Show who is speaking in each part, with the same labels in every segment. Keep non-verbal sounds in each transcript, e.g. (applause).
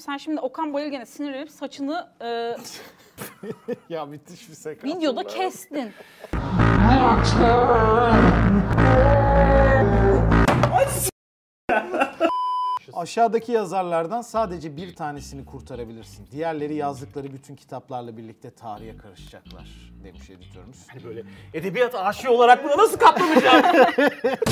Speaker 1: Sen şimdi Okan Bayülgen'e sinirlenip saçını e,
Speaker 2: Ya müthiş bir sekans.
Speaker 1: videoda
Speaker 2: oldu.
Speaker 1: kestin.
Speaker 2: Aşağıdaki yazarlardan sadece bir tanesini kurtarabilirsin. Diğerleri yazdıkları bütün kitaplarla birlikte tarihe karışacaklar demiş editörümüz.
Speaker 3: Hani Böyle edebiyat aşığı olarak buna nasıl katlanacağım?
Speaker 2: (laughs)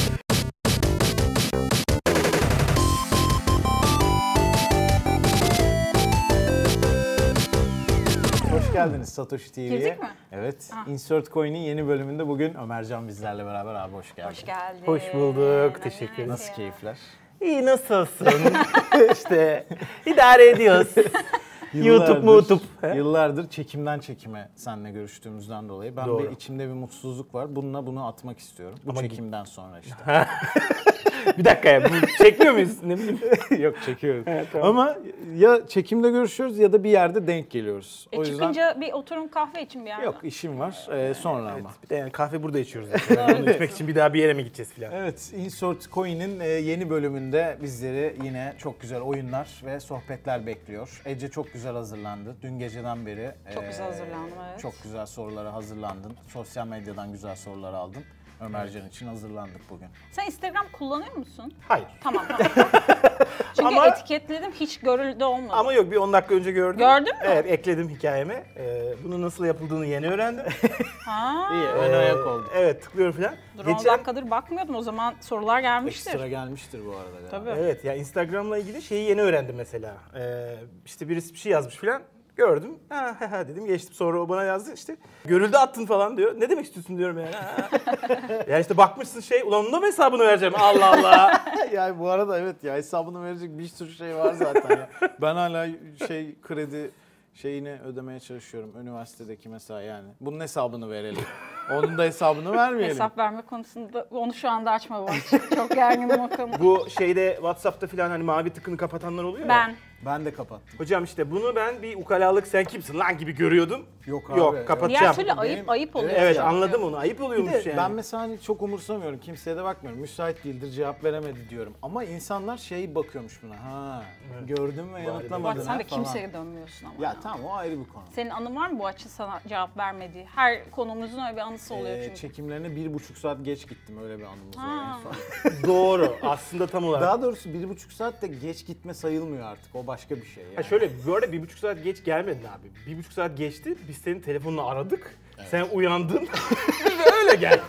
Speaker 2: Hoş geldiniz Satoshi TV'ye.
Speaker 1: Girdik mi?
Speaker 2: Evet. Insert Coin'in yeni bölümünde bugün Ömercan bizlerle beraber abi hoş geldin. E,
Speaker 1: Hoş geldin.
Speaker 3: Hoş bulduk, teşekkür ederim.
Speaker 2: Nasıl keyifler?
Speaker 3: İyi nasılsın? (laughs) işte idare ediyoruz. YouTube mu YouTube? He?
Speaker 2: Yıllardır çekimden çekime seninle görüştüğümüzden dolayı ben
Speaker 3: Doğru.
Speaker 2: bir içimde bir mutsuzluk var. Bununla bunu atmak istiyorum. Bu
Speaker 3: Ama
Speaker 2: çekimden sonra işte.
Speaker 3: (laughs) bir dakika ya bu çekmiyor muyuz? Ne bileyim.
Speaker 2: (laughs) Yok çekiyoruz.
Speaker 3: tamam.
Speaker 2: Ama ya çekimde görüşüyoruz ya da bir yerde denk geliyoruz.
Speaker 1: E, çıkınca bir oturun kahve için bir yerde.
Speaker 2: Yok işim var ee, sonra ama.
Speaker 3: Bir de yani kahve burada içiyoruz. zaten. Bunu içmek için bir daha bir yere mi gideceğiz filan?
Speaker 2: Evet Insert Coin'in e, yeni bölümünde bizleri yine çok güzel oyunlar ve sohbetler bekliyor. Ece çok güzel hazırlandı. Dün geceden beri.
Speaker 1: Çok
Speaker 2: e,
Speaker 1: güzel hazırlandım, evet.
Speaker 2: Çok güzel sorulara hazırlandın. Sosyal medyadan güzel sorular aldın. Ömercan için hazırlandık bugün.
Speaker 1: Sen Instagram kullanıyor musun?
Speaker 3: Hayır.
Speaker 1: Tamam.
Speaker 3: (laughs)
Speaker 1: tamam. Çünkü
Speaker 3: Ama-
Speaker 1: etiketledim hiç görüldü olmadı.
Speaker 3: Ama yok bir 10 dakika önce gördüm.
Speaker 1: Gördün mü?
Speaker 3: Evet ekledim hikayeme. Ee, bunun nasıl yapıldığını yeni öğrendim.
Speaker 1: ha.
Speaker 2: İyi
Speaker 3: Ee,
Speaker 2: ön ayak oldu.
Speaker 3: Evet tıklıyorum filan.
Speaker 1: Dur 10 dakikadır bakmıyordum o zaman sorular gelmiştir.
Speaker 2: Ekstra gelmiştir bu arada. galiba.
Speaker 1: Tabii.
Speaker 3: Evet ya Instagram'la ilgili şeyi yeni öğrendim mesela. Ee, işte birisi bir şey yazmış filan. Gördüm. Ha, ha, ha dedim geçtim. Sonra o bana yazdı işte. Görüldü attın falan diyor. Ne demek istiyorsun diyorum yani. Ha,
Speaker 2: (laughs)
Speaker 3: ha. yani işte bakmışsın şey. Ulan onun da mı hesabını vereceğim? Allah
Speaker 2: (laughs)
Speaker 3: Allah.
Speaker 2: yani bu arada evet ya hesabını verecek bir sürü şey var zaten (laughs) ya. Ben hala şey kredi şeyini ödemeye çalışıyorum üniversitedeki mesela yani. Bunun hesabını verelim. Onun da hesabını vermeyelim.
Speaker 1: Hesap verme konusunda onu şu anda açma bak. (laughs) Çok gerginim o konu.
Speaker 3: Bu şeyde Whatsapp'ta filan hani mavi tıkını kapatanlar oluyor ya.
Speaker 1: Ben.
Speaker 2: Ben de kapattım.
Speaker 3: Hocam işte bunu ben bir ukalalık sen kimsin lan gibi görüyordum.
Speaker 2: Yok abi.
Speaker 3: Yok kapatacağım.
Speaker 1: Diğer türlü ayıp ayıp oluyor.
Speaker 3: Evet
Speaker 1: çünkü.
Speaker 3: anladım onu. Ayıp
Speaker 2: Bir
Speaker 3: oluyormuş
Speaker 2: de
Speaker 3: yani. (laughs)
Speaker 2: ben mesela hani çok umursamıyorum. Kimseye de bakmıyorum. Müsait değildir cevap veremedi diyorum. Ama insanlar şey bakıyormuş buna. Ha gördün ve
Speaker 1: Bak
Speaker 2: yanıtlamadın ha
Speaker 1: sen de
Speaker 2: falan.
Speaker 1: kimseye dönmüyorsun ama.
Speaker 2: Ya tamam o ayrı bir konu.
Speaker 1: Senin anın var mı bu açı sana cevap vermediği? Her konumuzun öyle bir anısı oluyor
Speaker 2: Ee,
Speaker 1: çünkü.
Speaker 2: çekimlerine bir buçuk saat geç gittim öyle bir anımız var.
Speaker 1: Ha.
Speaker 2: en son.
Speaker 3: Doğru. Aslında tam olarak.
Speaker 2: Daha doğrusu bir buçuk saat de geç gitme sayılmıyor artık. O başka bir şey. Yani.
Speaker 3: Ha şöyle bu arada bir buçuk saat geç gelmedin abi. Bir buçuk saat geçti. Biz senin telefonunu aradık. Sen uyandın. (laughs) ve öyle gel.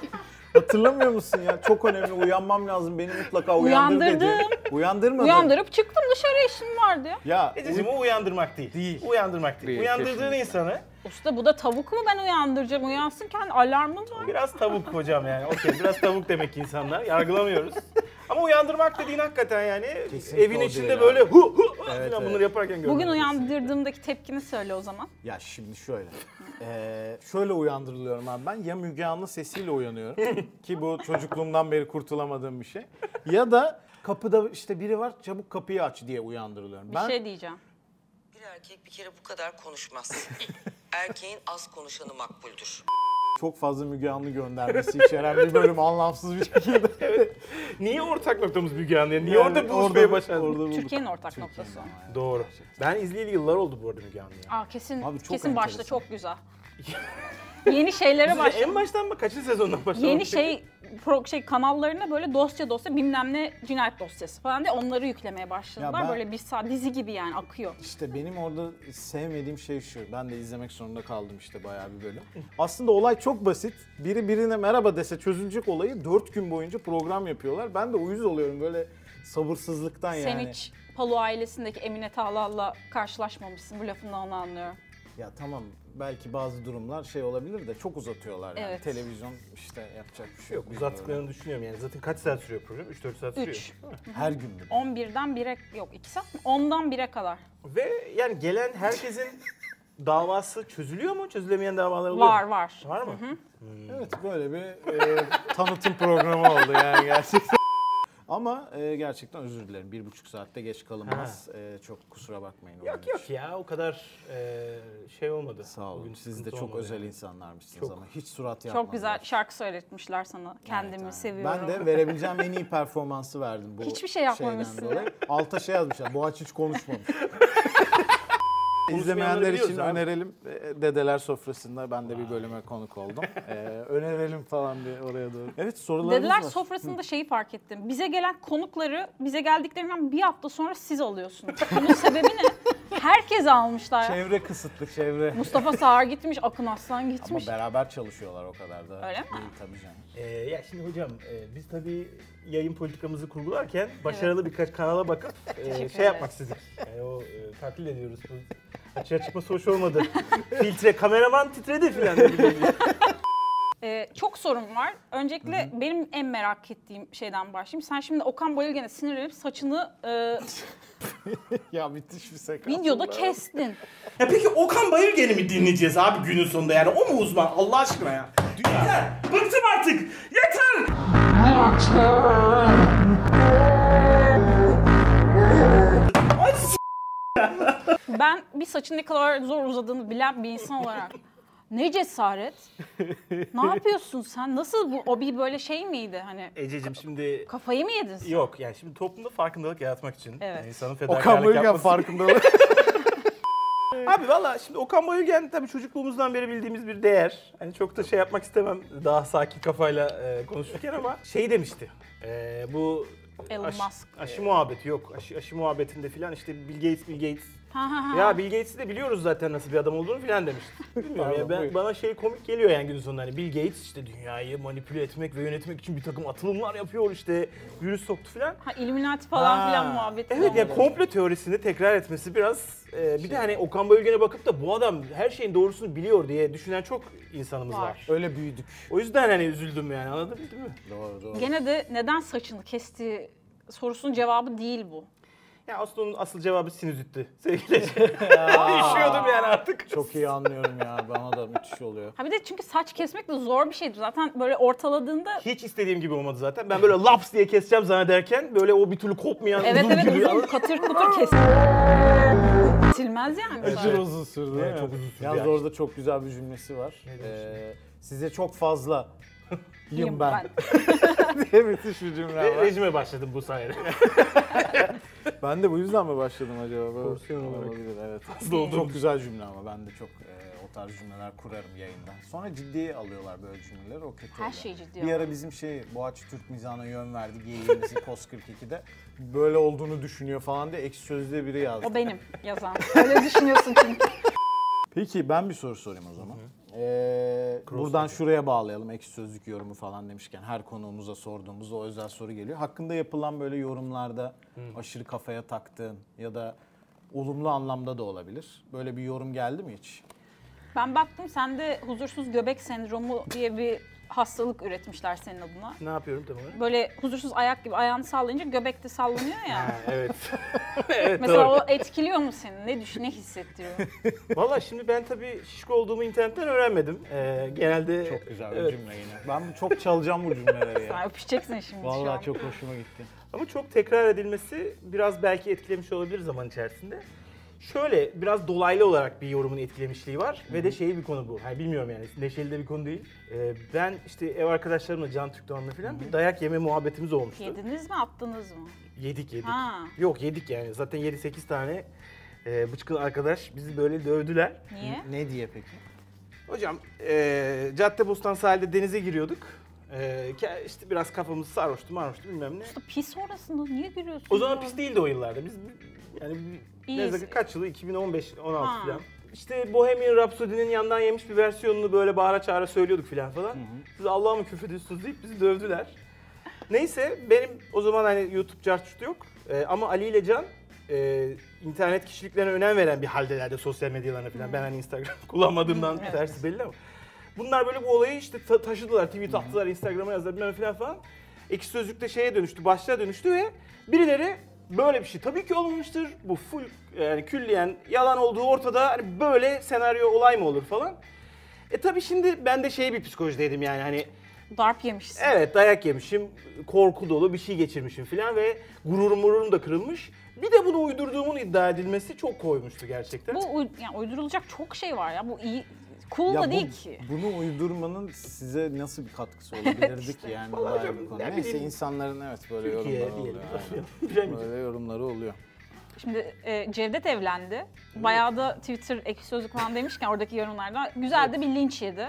Speaker 2: Hatırlamıyor musun ya? Çok önemli. Uyanmam lazım. Beni mutlaka uyandır
Speaker 1: Uyandırdım.
Speaker 2: dedi. Uyandırmadın.
Speaker 1: Uyandırıp çıktım dışarı işim vardı ya.
Speaker 2: Ya
Speaker 3: Ececiğim E, o uyandırmak değil.
Speaker 2: Değil.
Speaker 3: Uyandırmak değil.
Speaker 2: Değil,
Speaker 3: Uyandırdığın
Speaker 2: kesinlikle.
Speaker 3: insanı
Speaker 1: Usta bu da tavuk mu ben uyandıracağım? Uyansın kendi alarmım var.
Speaker 3: biraz tavuk hocam yani. Okey biraz tavuk demek insanlar. Yargılamıyoruz. Ama uyandırmak dediğin hakikaten yani
Speaker 2: Kesinlikle
Speaker 3: evin
Speaker 2: o
Speaker 3: içinde
Speaker 2: değil
Speaker 3: böyle hu hu hu
Speaker 2: Evet,
Speaker 3: falan
Speaker 2: evet.
Speaker 3: bunları yaparken gördüm.
Speaker 1: Bugün uyandırdığımdaki tepkini söyle o zaman.
Speaker 2: Ya şimdi şöyle. Ee, şöyle uyandırılıyorum abi ben. Ya Müge Anlı
Speaker 1: (laughs)
Speaker 2: sesiyle uyanıyorum. Ki bu çocukluğumdan beri kurtulamadığım bir şey. Ya da kapıda işte biri var çabuk kapıyı aç diye uyandırılıyorum.
Speaker 1: Bir
Speaker 2: ben
Speaker 1: şey diyeceğim.
Speaker 4: Bir erkek bir kere bu kadar konuşmaz. Erkeğin az konuşanı makbuldür.
Speaker 2: çok fazla Müge Anlı göndermesi içeren bir bölüm
Speaker 1: (laughs)
Speaker 2: anlamsız bir şey şekilde.
Speaker 3: Niye ortak noktamız Müge Anlı? Niye orada
Speaker 2: Yani
Speaker 3: buluşmaya başladın?
Speaker 2: orada bulduk.
Speaker 1: Türkiye'nin ortak
Speaker 2: Türkiye'nin
Speaker 1: noktası.
Speaker 2: ama ya.
Speaker 3: Doğru. Ben izleyeli yıllar oldu bu arada Müge Anlı'yı.
Speaker 1: Aa kesin
Speaker 2: Abi çok
Speaker 1: kesin başta
Speaker 2: enteresan.
Speaker 1: çok
Speaker 2: (laughs)
Speaker 1: güzel. Yeni şeylere
Speaker 3: Sizce En
Speaker 1: başla.
Speaker 3: baştan mı? Kaçıncı sezondan başladın?
Speaker 1: Yeni şey pro, şey kanallarına böyle dosya dosya bilmem ne cinayet dosyası falan diye onları yüklemeye başladılar.
Speaker 2: Ya ben-
Speaker 1: Böyle bir saat dizi gibi yani akıyor.
Speaker 2: İşte benim orada sevmediğim şey şu. Ben de izlemek zorunda kaldım işte bayağı bir bölüm. Aslında olay çok basit. Biri birine merhaba dese çözülecek olayı 4 gün boyunca program yapıyorlar. Ben de uyuz oluyorum böyle sabırsızlıktan
Speaker 1: Sen
Speaker 2: yani.
Speaker 1: hiç Palu ailesindeki Emine Tağlal'la karşılaşmamışsın. Bu lafından onu anlıyorum.
Speaker 2: Ya tamam belki bazı durumlar şey olabilir de çok uzatıyorlar yani.
Speaker 1: Evet.
Speaker 2: Televizyon işte yapacak bir şey yok.
Speaker 3: Yok uzattıklarını düşünüyorum yani. Zaten kaç saat sürüyor program? 3-4 saat sürüyor.
Speaker 1: Üç.
Speaker 2: Her gün mü?
Speaker 1: 11'den 1'e yok 2 saat mi? 10'dan 1'e kadar.
Speaker 3: Ve yani
Speaker 1: (laughs)
Speaker 3: gelen herkesin davası çözülüyor mu? Çözülemeyen davalar oluyor
Speaker 1: Var
Speaker 3: mu?
Speaker 1: var.
Speaker 3: Var mı?
Speaker 2: Evet böyle bir e, (laughs) tanıtım programı oldu yani gerçekten. Ama e, gerçekten özür dilerim. Bir buçuk saatte geç kalınmaz. E, çok kusura bakmayın. onun
Speaker 3: Yok
Speaker 2: için.
Speaker 3: yok ya o kadar e, şey olmadı.
Speaker 2: Sağ olun.
Speaker 3: Bugün
Speaker 2: Siz de
Speaker 3: sıkıntı
Speaker 2: çok
Speaker 3: olmadı
Speaker 2: özel
Speaker 3: yani.
Speaker 2: insanlarmışsınız
Speaker 3: Çok.
Speaker 2: ama hiç surat yapmadılar.
Speaker 1: Çok güzel şarkı söyletmişler sana. Kendimi
Speaker 2: Evet, aynen.
Speaker 1: seviyorum.
Speaker 2: Ben de verebileceğim en iyi performansı verdim bu
Speaker 1: Hiçbir şey yapmamışsın.
Speaker 2: (laughs) şeyden dolayı. Alta şey yazmışlar. Boğaç hiç konuşmamış. İzlemeyenler için
Speaker 3: biliyoruz abi.
Speaker 2: önerelim. Ee, Dedeler sofrasında ben de bir bölüme konuk (laughs) oldum. Ee, önerelim falan diye oraya doğru. Evet sorularınız
Speaker 1: Dediler
Speaker 2: var.
Speaker 1: sofrasında şeyi fark ettim. Bize gelen konukları bize geldiklerinden bir hafta sonra siz alıyorsunuz. Bunun sebebi
Speaker 2: (laughs)
Speaker 1: ne? Herkes almışlar.
Speaker 2: çevre kısıtlı çevre.
Speaker 1: Mustafa Sağır gitmiş, Akın Aslan
Speaker 2: Ama
Speaker 1: gitmiş.
Speaker 2: beraber çalışıyorlar o kadar da.
Speaker 1: Öyle mi?
Speaker 2: İyi tabii canım.
Speaker 3: Ee, ya şimdi hocam e, biz tabii yayın politikamızı kurgularken başarılı birkaç kanala bakıp e, şey
Speaker 1: ederim.
Speaker 3: yapmak istedik. Yani o e, taklit ediyoruz. Bu Açığa çıkması hoş olmadı. (laughs) Filtre, kameraman titredi filan.
Speaker 1: Ee, çok sorun var. Öncelikle benim en merak ettiğim şeyden başlayayım. Sen şimdi Okan Bayülgen'e sinirlenip saçını
Speaker 3: (laughs)
Speaker 1: e,
Speaker 2: Ya müthiş bir sekans.
Speaker 1: videoda
Speaker 2: oldu.
Speaker 1: kestin.
Speaker 5: Ya peki Okan Bayırgen'i mi dinleyeceğiz abi günün sonunda yani? O mu uzman? Allah aşkına ya. Yeter! Bıktım artık! Yeter!
Speaker 1: Ben bir saçın ne kadar zor uzadığını bilen bir insan
Speaker 3: (laughs)
Speaker 1: olarak ne cesaret? ne yapıyorsun sen? Nasıl bu? O bir böyle şey miydi? Hani
Speaker 3: Ececiğim şimdi
Speaker 1: kafayı mı yedin sen?
Speaker 3: yok yani şimdi toplumda farkındalık yaratmak için
Speaker 1: Evet.
Speaker 3: insanın
Speaker 2: Okan
Speaker 3: fedakarlık
Speaker 2: Bölgen
Speaker 3: yapması.
Speaker 2: farkındalık. (laughs)
Speaker 3: Abi valla şimdi Okan Bayülgen tabii çocukluğumuzdan beri bildiğimiz bir değer. Hani çok da şey yapmak istemem daha sakin kafayla e,
Speaker 5: (laughs)
Speaker 3: konuşurken ama şey demişti. E, bu
Speaker 1: Elon
Speaker 3: aşı,
Speaker 1: Musk.
Speaker 3: aşı muhabbeti yok. Aşı, aşı muhabbetinde filan işte Bill Gates, Bill Gates.
Speaker 1: Ha ha ha.
Speaker 3: Ya Bill Gates'i de biliyoruz zaten nasıl bir adam olduğunu
Speaker 1: (laughs)
Speaker 3: filan demişti. Bilmiyorum ya
Speaker 2: Pardon,
Speaker 3: ben,
Speaker 2: buyur.
Speaker 3: bana şey komik geliyor yani günün sonunda hani Bill Gates işte dünyayı manipüle etmek ve yönetmek için bir takım atılımlar yapıyor işte virüs soktu filan.
Speaker 1: Ha, Illuminati falan
Speaker 2: Ha,
Speaker 1: filan muhabbeti.
Speaker 3: Evet ya
Speaker 1: oldu.
Speaker 3: komplo teorisini tekrar etmesi biraz e,
Speaker 1: Şey.
Speaker 3: bir de hani Okan Bayülgen'e bakıp da bu adam her şeyin doğrusunu biliyor diye düşünen çok insanımız var.
Speaker 1: Var.
Speaker 2: Öyle büyüdük.
Speaker 3: O yüzden hani üzüldüm yani anladın mı, değil mi?
Speaker 2: Doğru doğru.
Speaker 1: Gene de neden saçını kestiği sorusunun cevabı değil bu.
Speaker 3: Ya aslında onun asıl cevabı sinüzitti
Speaker 1: (laughs)
Speaker 3: sevgili Ece. (laughs) Üşüyordum yani artık.
Speaker 2: Çok iyi anlıyorum ya. Bana da müthiş oluyor.
Speaker 1: Ha bir de çünkü saç kesmek de zor bir şeydir. Zaten böyle ortaladığında
Speaker 3: Hiç istediğim gibi olmadı zaten. Ben böyle laps diye keseceğim zannederken böyle o bir türlü kopmayan
Speaker 1: evet
Speaker 3: uzun
Speaker 1: evet
Speaker 3: gibi. (laughs)
Speaker 1: uzun katır katır kes. Kesilmez yani. böyle.
Speaker 2: Acır uzun sürdü.
Speaker 3: Evet,
Speaker 2: değil mi?
Speaker 3: çok uzun sürdü
Speaker 2: Yalnız
Speaker 3: yani.
Speaker 2: orada çok güzel bir cümlesi var.
Speaker 3: Ne demiş?
Speaker 2: Ee, size çok fazla (laughs) yım
Speaker 1: Yiyeyim
Speaker 2: ben. (laughs) diye müthiş bir cümle var.
Speaker 3: Rejime başladım bu sayede.
Speaker 2: (laughs) Ben de bu yüzden mi başladım acaba? Böyle
Speaker 3: Porsiyon olarak.
Speaker 2: Olabilir, evet.
Speaker 3: Hızlı olduğum
Speaker 2: Çok güzel cümle ama ben de çok e, o tarz cümleler kurarım yayında. Sonra ciddiye alıyorlar böyle cümleleri. O kötü
Speaker 1: Her
Speaker 2: oluyor.
Speaker 1: şeyi ciddiye
Speaker 2: Bir ara
Speaker 1: alıyorlar.
Speaker 2: bizim şey Boğaç Türk mizahına yön verdi (laughs) geyiğimizi Post 42'de. Böyle olduğunu düşünüyor falan diye ek sözde biri yazdı.
Speaker 1: O benim yazan. Öyle düşünüyorsun çünkü.
Speaker 2: Peki ben bir soru sorayım o zaman. Ee, buradan şuraya bağlayalım ekşi sözlük yorumu falan demişken her konuğumuza sorduğumuz o özel soru geliyor. Hakkında yapılan böyle yorumlarda aşırı kafaya taktığın ya da olumlu anlamda da olabilir. Böyle bir yorum geldi mi hiç?
Speaker 1: Ben baktım sende huzursuz göbek sendromu diye bir hastalık üretmişler senin adına.
Speaker 3: ne yapıyorum tamam olarak?
Speaker 1: Böyle huzursuz ayak gibi ayağını sallayınca göbek de sallanıyor ya.
Speaker 3: (laughs) evet. evet
Speaker 1: Mesela
Speaker 3: doğru.
Speaker 1: o etkiliyor mu seni? Ne düşün, ne hissettiriyor?
Speaker 3: Valla şimdi ben tabii şişko olduğumu internetten öğrenmedim. Ee, genelde e,
Speaker 2: Çok güzel bir
Speaker 3: Evet.
Speaker 2: cümle yine. Ben bu- çok çalacağım bu cümleleri
Speaker 1: Sen
Speaker 2: ya.
Speaker 1: öpüşeceksin şimdi şu an.
Speaker 2: Vallahi çok hoşuma gitti.
Speaker 3: Ama çok tekrar edilmesi biraz belki etkilemiş olabilir zaman içerisinde. Şöyle biraz dolaylı olarak bir yorumun etkilemişliği var ve de şeyi bir konu bu. Hani bilmiyorum yani neşeli de bir konu değil. Ee, ben işte ev arkadaşlarımla Can Türk Doğan'la falan bir dayak yeme muhabbetimiz olmuştu.
Speaker 1: Yediniz mi attınız mı?
Speaker 3: Yedik yedik.
Speaker 1: Ha.
Speaker 3: Yok yedik yani zaten 7-8 tane e, bıçkın arkadaş bizi böyle dövdüler.
Speaker 1: Niye?
Speaker 2: Ne diye peki?
Speaker 3: Hocam e, Caddebostan sahilde denize giriyorduk. E, ke- işte biraz kafamız sarhoştu marhoştu bilmem ne.
Speaker 1: Pis orasında niye gülüyorsun?
Speaker 3: O zaman
Speaker 1: ya?
Speaker 3: pis değildi o yıllarda. Biz yani bir- ne
Speaker 1: İyiyiz.
Speaker 3: zaman- kaç yılı? 2015 16
Speaker 1: Ha.
Speaker 3: falan. İşte Bohemian Rhapsody'nin yandan yemiş bir versiyonunu böyle bağıra çağıra söylüyorduk falan falan. Siz Allah'a mı küfrediyorsunuz deyip bizi dövdüler. Neyse benim o zaman hani YouTube çarçutu yok. Ee, ama Ali ile Can e, internet kişiliklerine önem veren bir haldelerde sosyal medyalarına falan. Ben hani Instagram (laughs) kullanmadığımdan
Speaker 1: Hı, evet.
Speaker 3: tersi belli ama. Bunlar böyle bu olayı işte ta- taşıdılar, tweet attılar, Instagram'a yazdılar bilmem falan falan. Ekşi Sözlük'te şeye dönüştü, başlığa dönüştü ve birileri böyle bir şey tabii ki olmamıştır. Bu full yani külliyen yalan olduğu ortada. Hani böyle senaryo olay mı olur falan. E tabii şimdi ben de şey bir psikolojideydim yani hani
Speaker 1: Darp yemişsin.
Speaker 3: Evet dayak yemişim, korku dolu bir şey geçirmişim filan ve gururum mururum da kırılmış. Bir de bunu uydurduğumun iddia edilmesi çok koymuştu gerçekten.
Speaker 1: Bu uy- yani uydurulacak çok şey var ya. Bu iyi cool da
Speaker 2: bu-
Speaker 1: değil ki.
Speaker 2: Bunu uydurmanın size nasıl bir katkısı olabilirdi ki yani bu
Speaker 3: Vallahi
Speaker 2: ayrı
Speaker 3: hocam,
Speaker 2: bir konu.
Speaker 3: ne
Speaker 2: Neyse
Speaker 3: bileyim.
Speaker 2: insanların evet böyle
Speaker 3: Türkiye
Speaker 2: yorumları
Speaker 3: (laughs) diyelim.
Speaker 2: oluyor. aynen.
Speaker 3: Bilemeyeceğim.
Speaker 2: Böyle yorumları oluyor.
Speaker 1: Şimdi e, Cevdet evlendi. Bayağı da Twitter ekşi sözlük falan demişken oradaki yorumlardan güzel de bir linç yedi.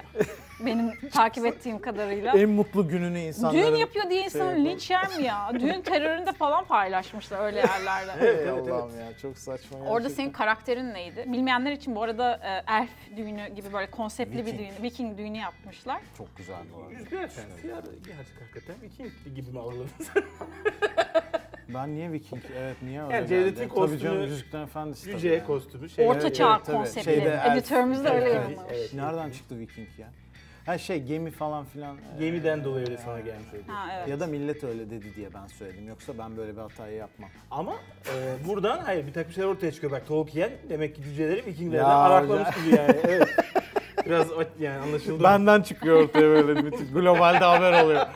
Speaker 1: Benim takip ettiğim
Speaker 2: (laughs)
Speaker 1: kadarıyla.
Speaker 2: En mutlu gününü insanların... şey
Speaker 1: Düğün yapıyor diye insanın
Speaker 2: yapalım.
Speaker 1: linç yer mi ya? Düğün teröründe falan paylaşmışlar öyle yerlerde.
Speaker 2: Evet, Allah'ım ya çok
Speaker 1: (laughs)
Speaker 2: saçma.
Speaker 1: Orada
Speaker 2: gerçekten.
Speaker 1: senin karakterin neydi? Bilmeyenler için bu arada e, elf düğünü gibi böyle konseptli bir
Speaker 2: Viking.
Speaker 1: düğünü, Viking düğünü yapmışlar.
Speaker 2: Çok güzel bu arada.
Speaker 3: Rüzgar Efendisi ya gerçek hakikaten Viking gibi mi avladınız?
Speaker 2: Ben niye Viking? Evet niye öyle
Speaker 3: Yani Cevdet'in
Speaker 2: geldi?
Speaker 3: kostümü-
Speaker 2: Tabii canım Yüzüklerin Efendisi tabii
Speaker 3: Cüce
Speaker 2: yani.
Speaker 3: kostümü şey.
Speaker 1: Orta
Speaker 2: evet,
Speaker 1: çağ
Speaker 2: evet, tabii.
Speaker 1: konsepti.
Speaker 2: Şeyde elf-
Speaker 1: Editörümüz de öyle
Speaker 3: Evet,
Speaker 1: yorumlamış.
Speaker 3: evet.
Speaker 2: Nereden çıktı Viking ya? Ha şey gemi falan filan.
Speaker 3: Gemiden dolayı öyle sana gelmiş oldu.
Speaker 1: Ha, evet.
Speaker 2: Ya da millet öyle dedi diye ben söyledim. Yoksa ben böyle bir hatayı yapmam.
Speaker 3: Ama e, buradan hayır bir takım şeyler ortaya çıkıyor. Bak Tolkien demek ki cüceleri Vikinglerden
Speaker 2: Ya
Speaker 3: araklamış
Speaker 2: hocam.
Speaker 3: gibi yani. Evet. (laughs) Biraz o- yani anlaşıldı.
Speaker 2: Benden çıkıyor ortaya böyle bütün globalde haber oluyor.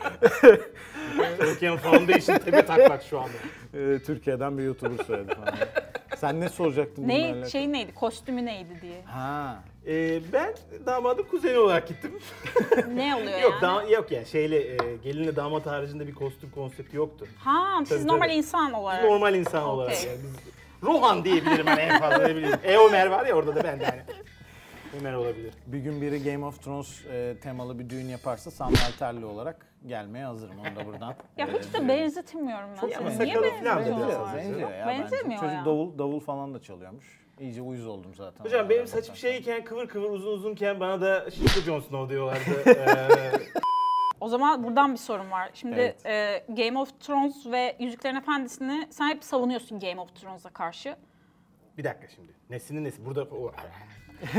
Speaker 3: Tolkien Foundation tepe taklak şu anda.
Speaker 2: Ee, Türkiye'den bir YouTuber söyledi falan. Sen ne soracaktın bununla
Speaker 1: Ne,
Speaker 2: alakalı?
Speaker 1: şey neydi, kostümü neydi
Speaker 2: (laughs)
Speaker 1: diye.
Speaker 2: Ha.
Speaker 3: E, ben damadım kuzeni olarak gittim.
Speaker 1: Ne oluyor
Speaker 3: yok
Speaker 1: yani?
Speaker 3: da, yok yani şeyle e, gelinle damat haricinde bir kostüm konsepti yoktu.
Speaker 1: Ha, siz
Speaker 3: Tabii,
Speaker 1: normal
Speaker 3: tabii.
Speaker 1: insan olarak.
Speaker 3: Normal insan olarak yani. Biz, Rohan diyebilirim hani en fazla ne bileyim. E Ömer var ya orada da ben
Speaker 1: (laughs)
Speaker 3: de hani. Ömer olabilir.
Speaker 2: Bir gün biri Game of Thrones e, temalı bir düğün yaparsa Sam Walter'li olarak gelmeye hazırım. Onu da buradan.
Speaker 1: Ya hiç de benzetilmiyorum ben
Speaker 3: ama
Speaker 1: seni. Niye
Speaker 3: sakalı falan da
Speaker 1: benziyorsun?
Speaker 2: Benziyor,
Speaker 3: biraz benziyor.
Speaker 2: benziyor ya
Speaker 1: Benzemiyor
Speaker 2: bence.
Speaker 1: ya.
Speaker 2: Çocuk davul, davul falan da çalıyormuş. İyice uyuz oldum zaten.
Speaker 3: Hocam benim saçım şey- şeyken kıvır kıvır uzun uzunken bana da Şişko Jon
Speaker 1: (laughs)
Speaker 3: Snow diyorlardı. Ee,
Speaker 1: O zaman buradan bir sorum var. Şimdi
Speaker 2: Evet.
Speaker 1: e, Game of Thrones ve Yüzüklerin Efendisi'ni sen hep savunuyorsun Game of Thrones'a karşı.
Speaker 3: bir dakika şimdi. Nesinin nesi? Burada o-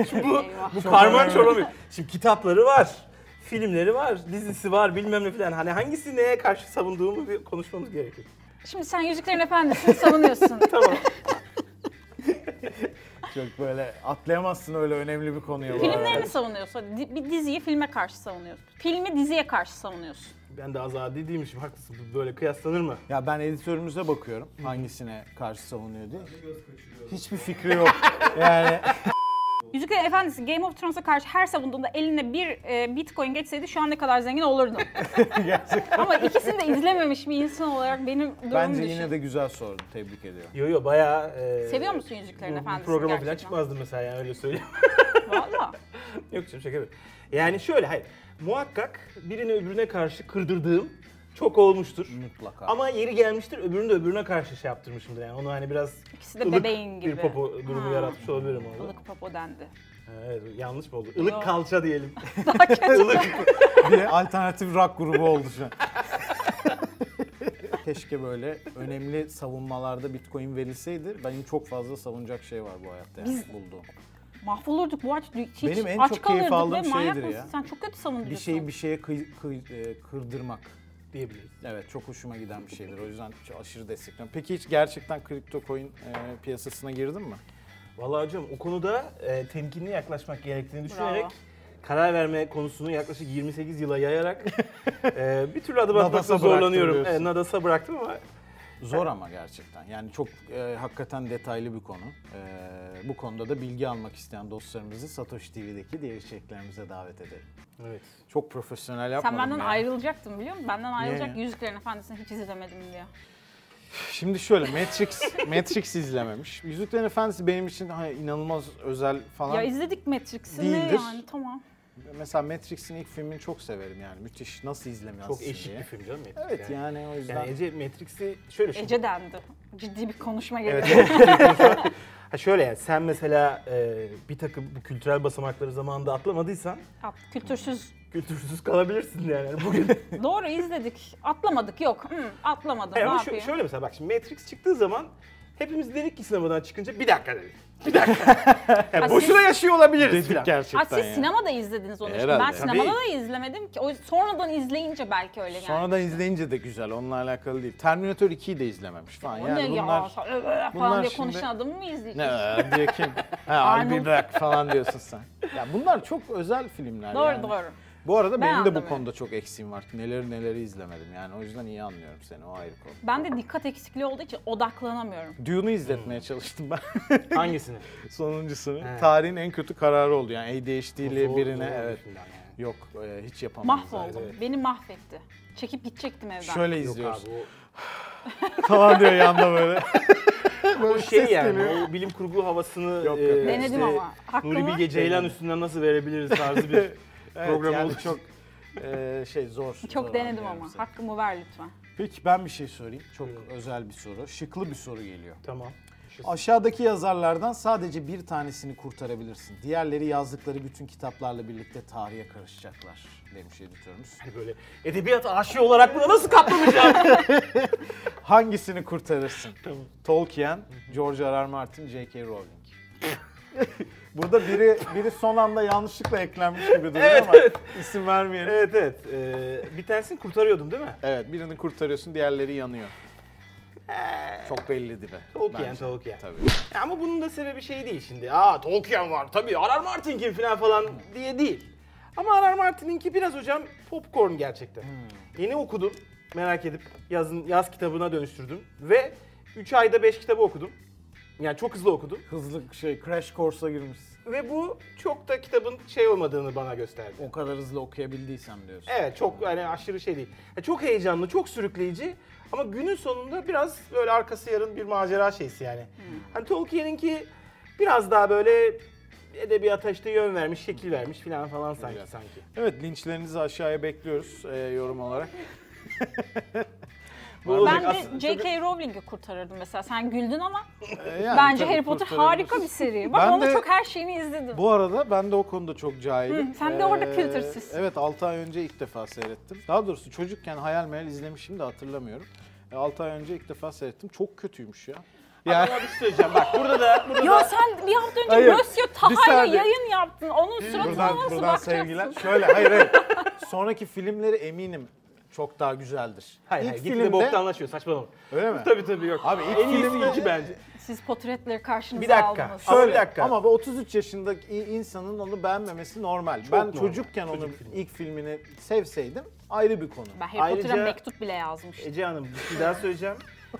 Speaker 3: Şimdi bu,
Speaker 1: Eyvah.
Speaker 3: bu karman çorabı. Şimdi kitapları var. Filmleri var, dizisi var bilmem ne falan. Hani hangisi neye karşı savunduğumu bir konuşmamız gerekiyor.
Speaker 1: Şimdi sen Yüzüklerin
Speaker 3: (laughs)
Speaker 1: Efendisi'ni savunuyorsun. (laughs)
Speaker 3: Tamam.
Speaker 2: Çok böyle atlayamazsın öyle önemli bir konuya. bu arada.
Speaker 1: Filmleri mi savunuyorsun? Di- Bir diziyi filme karşı savunuyorsun. Filmi diziye karşı savunuyorsun.
Speaker 3: Ben de azadi değilmişim haklısın. Bu Böyle kıyaslanır mı?
Speaker 2: Ya ben editörümüze bakıyorum hangisine karşı savunuyor diye. Hiçbir fikri yok. yani
Speaker 1: Yüzüklerin Efendisi Game of Thrones'a karşı her savunduğunda eline bir e, bitcoin geçseydi şu an ne kadar zengin
Speaker 3: (laughs)
Speaker 1: olurdun. Ama ikisini de izlememiş bir insan olarak benim durumumu
Speaker 2: bence
Speaker 1: düşün.
Speaker 2: yine de güzel sordu. Tebrik ediyorum.
Speaker 3: Yo yo bayağı... e,
Speaker 1: Seviyor musun Yüzüklerin
Speaker 3: bu-
Speaker 1: Efendisi'ni
Speaker 3: Bu programa
Speaker 1: gerçekten?
Speaker 3: falan çıkmazdım mesela yani öyle söyleyeyim. (laughs)
Speaker 1: Valla.
Speaker 3: Yok canım şaka yapıyorum. Yani şöyle hayır. Muhakkak birini öbürüne karşı kırdırdığım çok olmuştur.
Speaker 2: Mutlaka.
Speaker 3: Ama yeri gelmiştir öbürünü de öbürüne karşı şey yaptırmışımdır yani. Onu hani biraz
Speaker 1: İkisi de
Speaker 3: ılık
Speaker 1: bebeğin
Speaker 3: bir
Speaker 1: gibi.
Speaker 3: popo durumu
Speaker 1: Ha.
Speaker 3: yaratmış olabilirim orada.
Speaker 1: Ilık popo dendi. (laughs)
Speaker 3: Ha, Evet yanlış mı oldu? Ilık
Speaker 1: Yok.
Speaker 3: kalça diyelim. (laughs)
Speaker 2: bir alternatif rock grubu oldu şu an. (laughs) Keşke böyle önemli savunmalarda bitcoin verilseydi. Benim çok fazla savunacak şey var bu hayatta yani bulduğum.
Speaker 1: Mahvolurduk bu aç. Hiç
Speaker 2: Benim en
Speaker 1: aç
Speaker 2: çok keyif
Speaker 1: kalırdık
Speaker 2: aldığım
Speaker 1: ve manyak
Speaker 2: şeydir
Speaker 1: mısın?
Speaker 2: ya.
Speaker 1: Sen çok kötü savunuyorsun.
Speaker 2: Bir şeyi bir şey şeye kıy- kıy- e, kırdırmak.
Speaker 3: diyebiliriz.
Speaker 2: Evet çok hoşuma giden bir şeydir. O yüzden çok aşırı destekliyorum. Peki hiç gerçekten kripto coin e, piyasasına girdin mi?
Speaker 3: Vallahi hocam o konuda e, temkinli yaklaşmak gerektiğini düşünerek
Speaker 1: Bravo.
Speaker 3: karar verme konusunu yaklaşık 28
Speaker 1: (laughs)
Speaker 3: yıla yayarak e, bir türlü adım atmakta
Speaker 2: Nadas'a
Speaker 3: zorlanıyorum.
Speaker 2: bıraktım diyorsun.
Speaker 3: E, Nadas'a bıraktım ama
Speaker 2: Zor ama gerçekten. Yani çok e, hakikaten detaylı bir konu. E, bu konuda da bilgi almak isteyen dostlarımızı Satoshi TV'deki diğer içeriklerimize davet edelim.
Speaker 3: evet.
Speaker 2: Çok profesyonel yapmadım
Speaker 1: Sen benden
Speaker 2: ya.
Speaker 1: ayrılacaktın biliyor musun? Benden ayrılacak
Speaker 2: ya?
Speaker 1: Yüzüklerin Efendisi'ni hiç izlemedim diye.
Speaker 2: Şimdi şöyle Matrix (laughs) Matrix izlememiş. Yüzüklerin Efendisi benim için hani inanılmaz özel falan.
Speaker 1: Ya izledik Matrix'i ne
Speaker 2: Değildir.
Speaker 1: yani tamam.
Speaker 2: Mesela Matrix'in ilk filmini çok severim yani. Müthiş nasıl izlemiyorsun
Speaker 3: Çok eşit
Speaker 2: diye.
Speaker 3: bir film canım. Matrix
Speaker 2: Evet yani o yüzden. (laughs)
Speaker 3: Yani Ece Matrix'i şöyle şimdi.
Speaker 1: Ece dendi. Ciddi bir konuşma geldi.
Speaker 3: Evet. ha şöyle yani sen mesela e, bir takım bu kültürel basamakları zamanında atlamadıysan
Speaker 1: (laughs) At, kültürsüz.
Speaker 3: kültürsüz kalabilirsin yani
Speaker 1: (laughs)
Speaker 3: Yani bugün.
Speaker 1: Doğru izledik. Atlamadık yok. Hı, atlamadım
Speaker 2: E,
Speaker 3: Hayır,
Speaker 1: ne
Speaker 3: ama
Speaker 1: yapayım?
Speaker 3: şu- şöyle mesela bak şimdi Matrix çıktığı zaman hepimiz dedik ki sinemadan çıkınca bir dakika dedik. Bir
Speaker 2: E,
Speaker 3: dakika. Yani
Speaker 1: Ha,
Speaker 3: boşuna yaşıyor olabiliriz
Speaker 2: dedik
Speaker 3: filan. (laughs)
Speaker 2: gerçekten
Speaker 1: Ha, siz
Speaker 2: yani.
Speaker 1: sinemada izlediniz onu işte. Ben
Speaker 2: E, Herhalde.
Speaker 1: sinemada da izlemedim ki. O sonradan izleyince belki öyle geldi.
Speaker 2: Sonradan izleyince de güzel. Onunla alakalı değil. Terminator 2'yi de izlememiş falan.
Speaker 1: O
Speaker 2: yani
Speaker 1: ne ya
Speaker 2: bunlar
Speaker 1: sa- ö- ö- falan
Speaker 2: bunlar
Speaker 1: diye
Speaker 2: şimdi-
Speaker 1: konuşan adamı mı izleyeceğiz?
Speaker 2: ne diye kim? Ha, I'll be
Speaker 1: Arnold.
Speaker 2: back falan diyorsun sen. Ya bunlar çok özel filmler
Speaker 1: Doğru
Speaker 2: yani.
Speaker 1: doğru.
Speaker 2: Bu arada benim de
Speaker 1: anlamıyorum.
Speaker 2: bu konuda çok eksiğim var. Neleri neleri izlemedim yani. O yüzden iyi anlıyorum seni. O ayrı konu.
Speaker 1: Ben de dikkat eksikliği olduğu için odaklanamıyorum.
Speaker 2: Dune'u izletmeye çalıştım ben. (laughs)
Speaker 3: Hangisini?
Speaker 2: Sonuncusunu.
Speaker 3: Hmm. He.
Speaker 2: Tarihin en kötü kararı oldu yani ADHD'li
Speaker 3: Zor-
Speaker 2: birine
Speaker 3: zor
Speaker 2: evet.
Speaker 3: bir film şey yani.
Speaker 2: Yok e, hiç yapamadım.
Speaker 1: Mahvoldum.
Speaker 2: zaten.
Speaker 1: Beni mahvetti. Çekip gidecektim evden.
Speaker 2: Şöyle
Speaker 3: Yok
Speaker 2: izliyoruz.
Speaker 3: abi o (laughs)
Speaker 2: Falan diyor yanda böyle.
Speaker 3: o şey yani o bilim kurgu
Speaker 2: Yok,
Speaker 3: havasını
Speaker 2: yok.
Speaker 3: e,
Speaker 1: Denedim
Speaker 3: işte,
Speaker 1: ama. Hakkı
Speaker 3: Nuri
Speaker 1: mı?
Speaker 3: Bilge Ceylan üstünden nasıl verebiliriz tarzı
Speaker 2: (laughs)
Speaker 3: bir
Speaker 2: Evet,
Speaker 3: program
Speaker 2: yani
Speaker 3: olduğu için.
Speaker 2: çok e, şey zor.
Speaker 1: Çok
Speaker 2: zor
Speaker 1: denedim
Speaker 2: anlıyorum
Speaker 1: ama.
Speaker 2: seni.
Speaker 1: Hakkımı ver lütfen.
Speaker 2: Peki ben bir şey sorayım. Çok özel bir soru. Şıklı bir soru geliyor.
Speaker 3: Tamam.
Speaker 2: Aşağıdaki yazarlardan sadece bir tanesini kurtarabilirsin. Diğerleri yazdıkları bütün kitaplarla birlikte tarihe karışacaklar demiş editörümüz.
Speaker 3: Hani böyle edebiyat aşığı olarak buna nasıl katlanacağım?
Speaker 2: Hangisini
Speaker 3: (laughs)
Speaker 2: kurtarırsın? Tolkien, George R. R. Martin, J.K. Rowling. (laughs) Burada biri biri son anda yanlışlıkla eklenmiş gibi duruyor
Speaker 3: Evet,
Speaker 2: ama
Speaker 3: evet.
Speaker 2: isim vermeyelim. Evet.
Speaker 3: evet evet. Ee, bir tanesini kurtarıyordum değil mi?
Speaker 2: birini kurtarıyorsun, diğerleri yanıyor. Çok belli dibe.
Speaker 3: Ee. Tolkien,
Speaker 2: bence.
Speaker 3: Tolkien.
Speaker 2: Tabii.
Speaker 3: Ya Ama bunun da sebebi şey değil şimdi. Aa Tolkien var tabii R.R. Martin kim falan falan diye değil. Ama R.R. Martin'inki biraz hocam popcorn gerçekten. Yeni okudum merak edip yazın yaz kitabına dönüştürdüm ve 3 ayda 5 kitabı okudum. Yani çok hızlı okudum
Speaker 2: Hızlı şey, crash course'a girmişsin.
Speaker 3: ve bu çok da kitabın şey olmadığını bana gösterdi.
Speaker 2: O kadar hızlı okuyabildiysem diyorsun.
Speaker 3: Evet çok hani aşırı şey değil. Ya çok heyecanlı, çok sürükleyici ama günün sonunda biraz böyle arkası yarın bir macera şeysi yani. Hani Tolkien'inki biraz daha böyle edebiyata işte yön vermiş, şekil vermiş falan falan sanki
Speaker 2: Güzel.
Speaker 3: sanki.
Speaker 2: Evet linçlerinizi aşağıya bekliyoruz e, yorum (laughs) olarak.
Speaker 3: Bu
Speaker 1: Ben
Speaker 3: olacak
Speaker 1: de
Speaker 3: aslında.
Speaker 1: J.K. Rowling'i kurtarırdım mesela. Sen güldün ama
Speaker 2: E, yani
Speaker 1: bence
Speaker 2: tabii
Speaker 1: Harry Potter
Speaker 2: kurtarabiliriz.
Speaker 1: harika bir
Speaker 2: (laughs)
Speaker 1: seri. Bak
Speaker 2: Ben
Speaker 1: onun
Speaker 2: de-
Speaker 1: çok her şeyini izledim.
Speaker 2: Bu arada ben de o konuda çok cahilim.
Speaker 1: Hı, sen de orada kültürsüzsün.
Speaker 2: Evet 6 ay önce ilk defa seyrettim. Daha doğrusu çocukken hayal meyal izlemişim de hatırlamıyorum. 6 ay önce ilk defa seyrettim. Çok kötüymüş ya. Yani
Speaker 3: Ama bir şey söyleyeceğim bak burada da burada
Speaker 1: Ya
Speaker 3: da
Speaker 1: sen bir hafta önce
Speaker 2: Hayır,
Speaker 1: Monsieur
Speaker 2: bir
Speaker 1: Taha'yla
Speaker 2: saniye.
Speaker 1: yayın yaptın. Onun suratına
Speaker 2: buradan,
Speaker 1: nasıl
Speaker 2: buradan
Speaker 1: bakacaksın? (laughs)
Speaker 2: sevgiler. Şöyle hayır hayır. Sonraki filmleri eminim çok daha güzeldir.
Speaker 3: Hayır
Speaker 2: İlk
Speaker 3: hayır gitti de boktanlaşıyor saçmalama.
Speaker 2: Öyle mi?
Speaker 3: Tabii tabii yok.
Speaker 2: Abi ilk
Speaker 3: en iyisi
Speaker 2: filmde-
Speaker 3: iki bence.
Speaker 1: Siz portretleri karşınıza
Speaker 3: Bir dakika.
Speaker 1: aldınız.
Speaker 3: Ama
Speaker 2: Şöyle
Speaker 3: bir dakika.
Speaker 2: ama bu 33 yaşındaki i- insanın onu beğenmemesi normal. ben
Speaker 3: normal.
Speaker 2: çocukken onun ilk filmini sevseydim ayrı bir konu.
Speaker 1: Ben Harry Potter'a
Speaker 3: Ayrıca-
Speaker 1: mektup bile yazmıştım.
Speaker 3: Ece Hanım bir şey daha söyleyeceğim.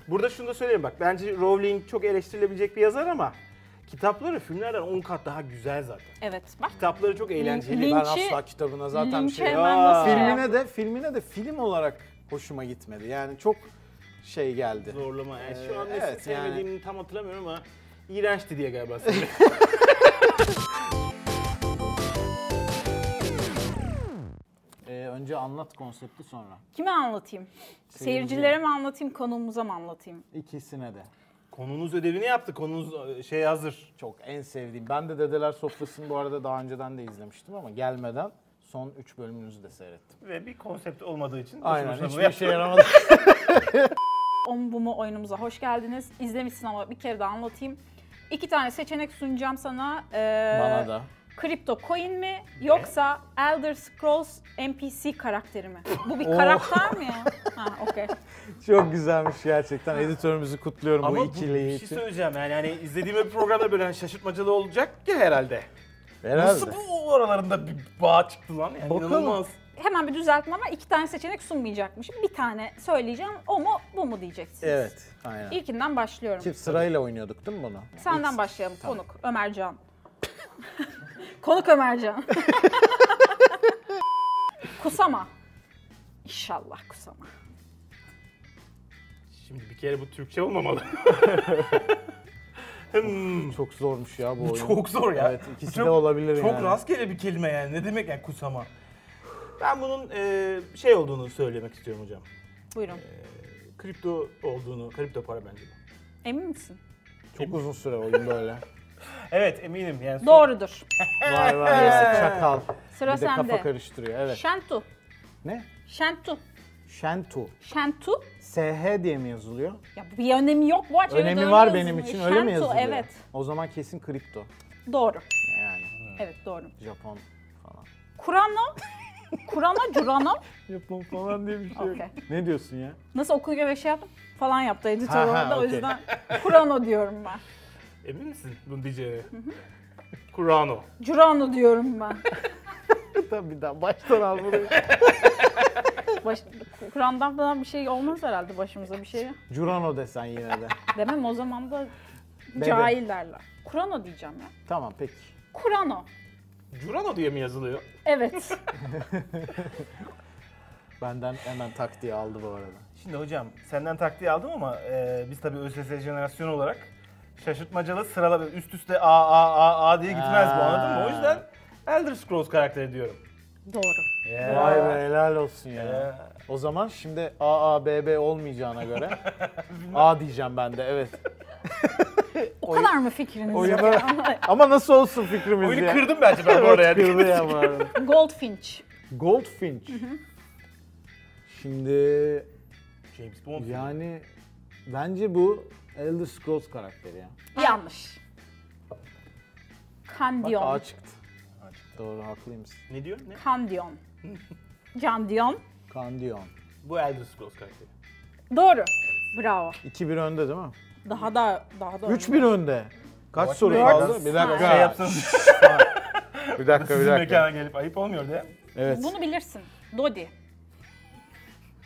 Speaker 3: Burada şunu da söyleyeyim bak bence Rowling çok eleştirilebilecek bir yazar ama kitapları filmlerden 10 kat daha güzel zaten.
Speaker 1: Evet bak.
Speaker 3: Kitapları çok eğlenceli.
Speaker 2: Ben
Speaker 1: Linç'i-
Speaker 2: asla kitabına zaten bir
Speaker 1: Lynch'e
Speaker 2: şey
Speaker 1: hemen nasıl şey
Speaker 2: filmine
Speaker 1: yaptın?
Speaker 2: de filmine de film olarak hoşuma gitmedi. Yani çok şey geldi.
Speaker 3: Zorlama. Yani
Speaker 2: Ee,
Speaker 3: şu an
Speaker 2: evet,
Speaker 3: evet, sevmediğimi tam hatırlamıyorum ama iğrençti diye galiba. (laughs) söyledim.
Speaker 2: Ee, önce anlat konsepti sonra.
Speaker 1: Kime anlatayım? Seyircilere mi anlatayım, konuğumuza mı anlatayım?
Speaker 2: İkisine de.
Speaker 3: Konunuz ödevini yaptı. Konunuz e, şey hazır.
Speaker 2: Çok en sevdiğim. Ben de Dedeler Sofrası'nı bu arada daha önceden de izlemiştim ama gelmeden son 3 bölümünüzü de seyrettim.
Speaker 3: Ve bir konsept olmadığı için
Speaker 2: Aynen
Speaker 3: boşu
Speaker 2: hiçbir (laughs)
Speaker 3: boşuna bunu
Speaker 2: şey
Speaker 3: yaptım.
Speaker 2: yaramadı.
Speaker 1: On bu mu oyunumuza hoş geldiniz. İzlemişsin ama bir kere daha anlatayım. İki tane seçenek sunacağım sana. Ee,
Speaker 2: Bana da.
Speaker 1: Kripto coin mi yoksa Elder Scrolls NPC karakteri mi? Bu bir
Speaker 2: Oh.
Speaker 1: karakter mi ya? Ha okey.
Speaker 2: Çok güzelmiş gerçekten. Editörümüzü kutluyorum
Speaker 3: Ama
Speaker 2: bu
Speaker 3: bu,
Speaker 2: ikiliği
Speaker 3: bir şey
Speaker 2: için.
Speaker 3: söyleyeceğim yani hani izlediğim bir programda böyle hani şaşırtmacalı olacak ki herhalde.
Speaker 2: Herhalde.
Speaker 3: Nasıl bu aralarında bir bağ çıktı lan yani
Speaker 2: Bakalım.
Speaker 3: inanılmaz.
Speaker 1: Hemen bir düzeltme ama iki tane seçenek sunmayacakmışım. Bir tane söyleyeceğim o mu bu mu diyeceksiniz.
Speaker 2: Evet. Aynen.
Speaker 1: İlkinden başlıyorum.
Speaker 2: Çift sırayla oynuyorduk değil mi bunu?
Speaker 1: Senden başlayalım konuk Ömercan. (laughs) konuk Ömercan. (laughs) kusama. İnşallah kusama.
Speaker 3: Şimdi bir kere bu Türkçe (laughs) olmamalı. Hmm,
Speaker 2: Çok zormuş ya bu, oyun.
Speaker 3: çok zor ya.
Speaker 2: Evet ikisi
Speaker 3: Çok-
Speaker 2: de olabilir
Speaker 3: Çok
Speaker 2: yani.
Speaker 3: rastgele bir kelime yani. Ne demek yani kusama? Ben bunun e, şey olduğunu söylemek istiyorum hocam.
Speaker 1: Buyurun.
Speaker 2: Ee,
Speaker 3: Kripto olduğunu, kripto para bence. bu.
Speaker 1: Emin misin?
Speaker 2: Çok uzun süre oyun böyle.
Speaker 3: Evet eminim yani. son-
Speaker 1: Doğrudur.
Speaker 2: Vay vay ya çakal.
Speaker 1: Sıra
Speaker 2: şey, bir de kafa
Speaker 1: sende.
Speaker 2: karıştırıyor evet.
Speaker 1: Şentu.
Speaker 2: Ne?
Speaker 1: Şentu.
Speaker 2: Şentu.
Speaker 1: Şentu.
Speaker 2: SH diye mi yazılıyor?
Speaker 1: Ya bir önemi yok bu arada.
Speaker 2: Önemi
Speaker 1: Öyle
Speaker 2: var
Speaker 1: yazılıyor.
Speaker 2: benim için öyle
Speaker 1: Şentu,
Speaker 2: mi yazılıyor?
Speaker 1: evet.
Speaker 2: O zaman kesin kripto.
Speaker 1: Doğru.
Speaker 2: Yani
Speaker 1: Evet doğru.
Speaker 2: Japon falan.
Speaker 1: Kurano. Kurano, Curano.
Speaker 2: Japon falan diye bir şey
Speaker 1: yok. Okey.
Speaker 2: Ne diyorsun ya?
Speaker 1: Nasıl okuyor ve şey yaptım? Falan yaptı editör
Speaker 2: Ha, ha,
Speaker 1: orada. O
Speaker 2: okey.
Speaker 1: yüzden Kurano diyorum ben.
Speaker 3: Emin misin bunu diyeceğine? Kurano.
Speaker 1: Curano diyorum ben.
Speaker 2: (laughs) Tabii bir daha baştan al burayı.
Speaker 1: Baş, Kur'an'dan falan bir şey olmaz herhalde başımıza bir şey.
Speaker 2: Curano desen yine de.
Speaker 1: Demem o zaman da
Speaker 2: Dede.
Speaker 1: cahil derler. Kurano diyeceğim ya.
Speaker 2: tamam peki.
Speaker 1: Kurano.
Speaker 3: Curano diye mi yazılıyor?
Speaker 2: (laughs)
Speaker 1: Evet.
Speaker 2: Benden hemen taktiği aldı bu arada.
Speaker 3: Şimdi hocam senden taktiği aldım ama e, biz tabii ÖSS jenerasyonu olarak şaşırtmacalı sırala böyle üst üste a a a a diye gitmez bu anladın mı? O
Speaker 2: Ha.
Speaker 3: yüzden Elder Scrolls karakteri diyorum.
Speaker 1: Doğru.
Speaker 2: Vay be helal olsun ya. O zaman şimdi AABB olmayacağına göre (laughs) A diyeceğim ben de (laughs) evet.
Speaker 1: O kadar mı fikriniz? yok?
Speaker 2: Oyunu ama nasıl olsun fikrimiz
Speaker 3: Oyunu
Speaker 2: ya. (laughs)
Speaker 3: kırdım bence ben bu
Speaker 2: Evet,
Speaker 3: (laughs) araya.
Speaker 2: kırdı ya bu arada. (laughs)
Speaker 1: Goldfinch.
Speaker 2: Goldfinch. Şimdi
Speaker 3: James Bond.
Speaker 2: yani bence bu Elder Scrolls karakteri ya.
Speaker 1: Yanlış.
Speaker 2: Bak A
Speaker 1: Kandion.
Speaker 2: çıktı. Doğru haklıymışsın.
Speaker 3: Ne diyor? Ne?
Speaker 1: Kandion. Candion.
Speaker 2: Kandiyon.
Speaker 3: Bu Elder Scrolls karakteri.
Speaker 1: Doğru. Bravo.
Speaker 2: 2-1 önde değil mi?
Speaker 1: Daha da daha da
Speaker 2: 3-1 önde. Kaç soru
Speaker 3: Dört.
Speaker 2: kaldı? Bir dakika.
Speaker 3: Şey yapsanız
Speaker 2: bir dakika, bir
Speaker 3: sizin mekana
Speaker 2: dakika.
Speaker 3: gelip ayıp olmuyor diye.
Speaker 2: Evet.
Speaker 1: Bunu bilirsin. Dodi.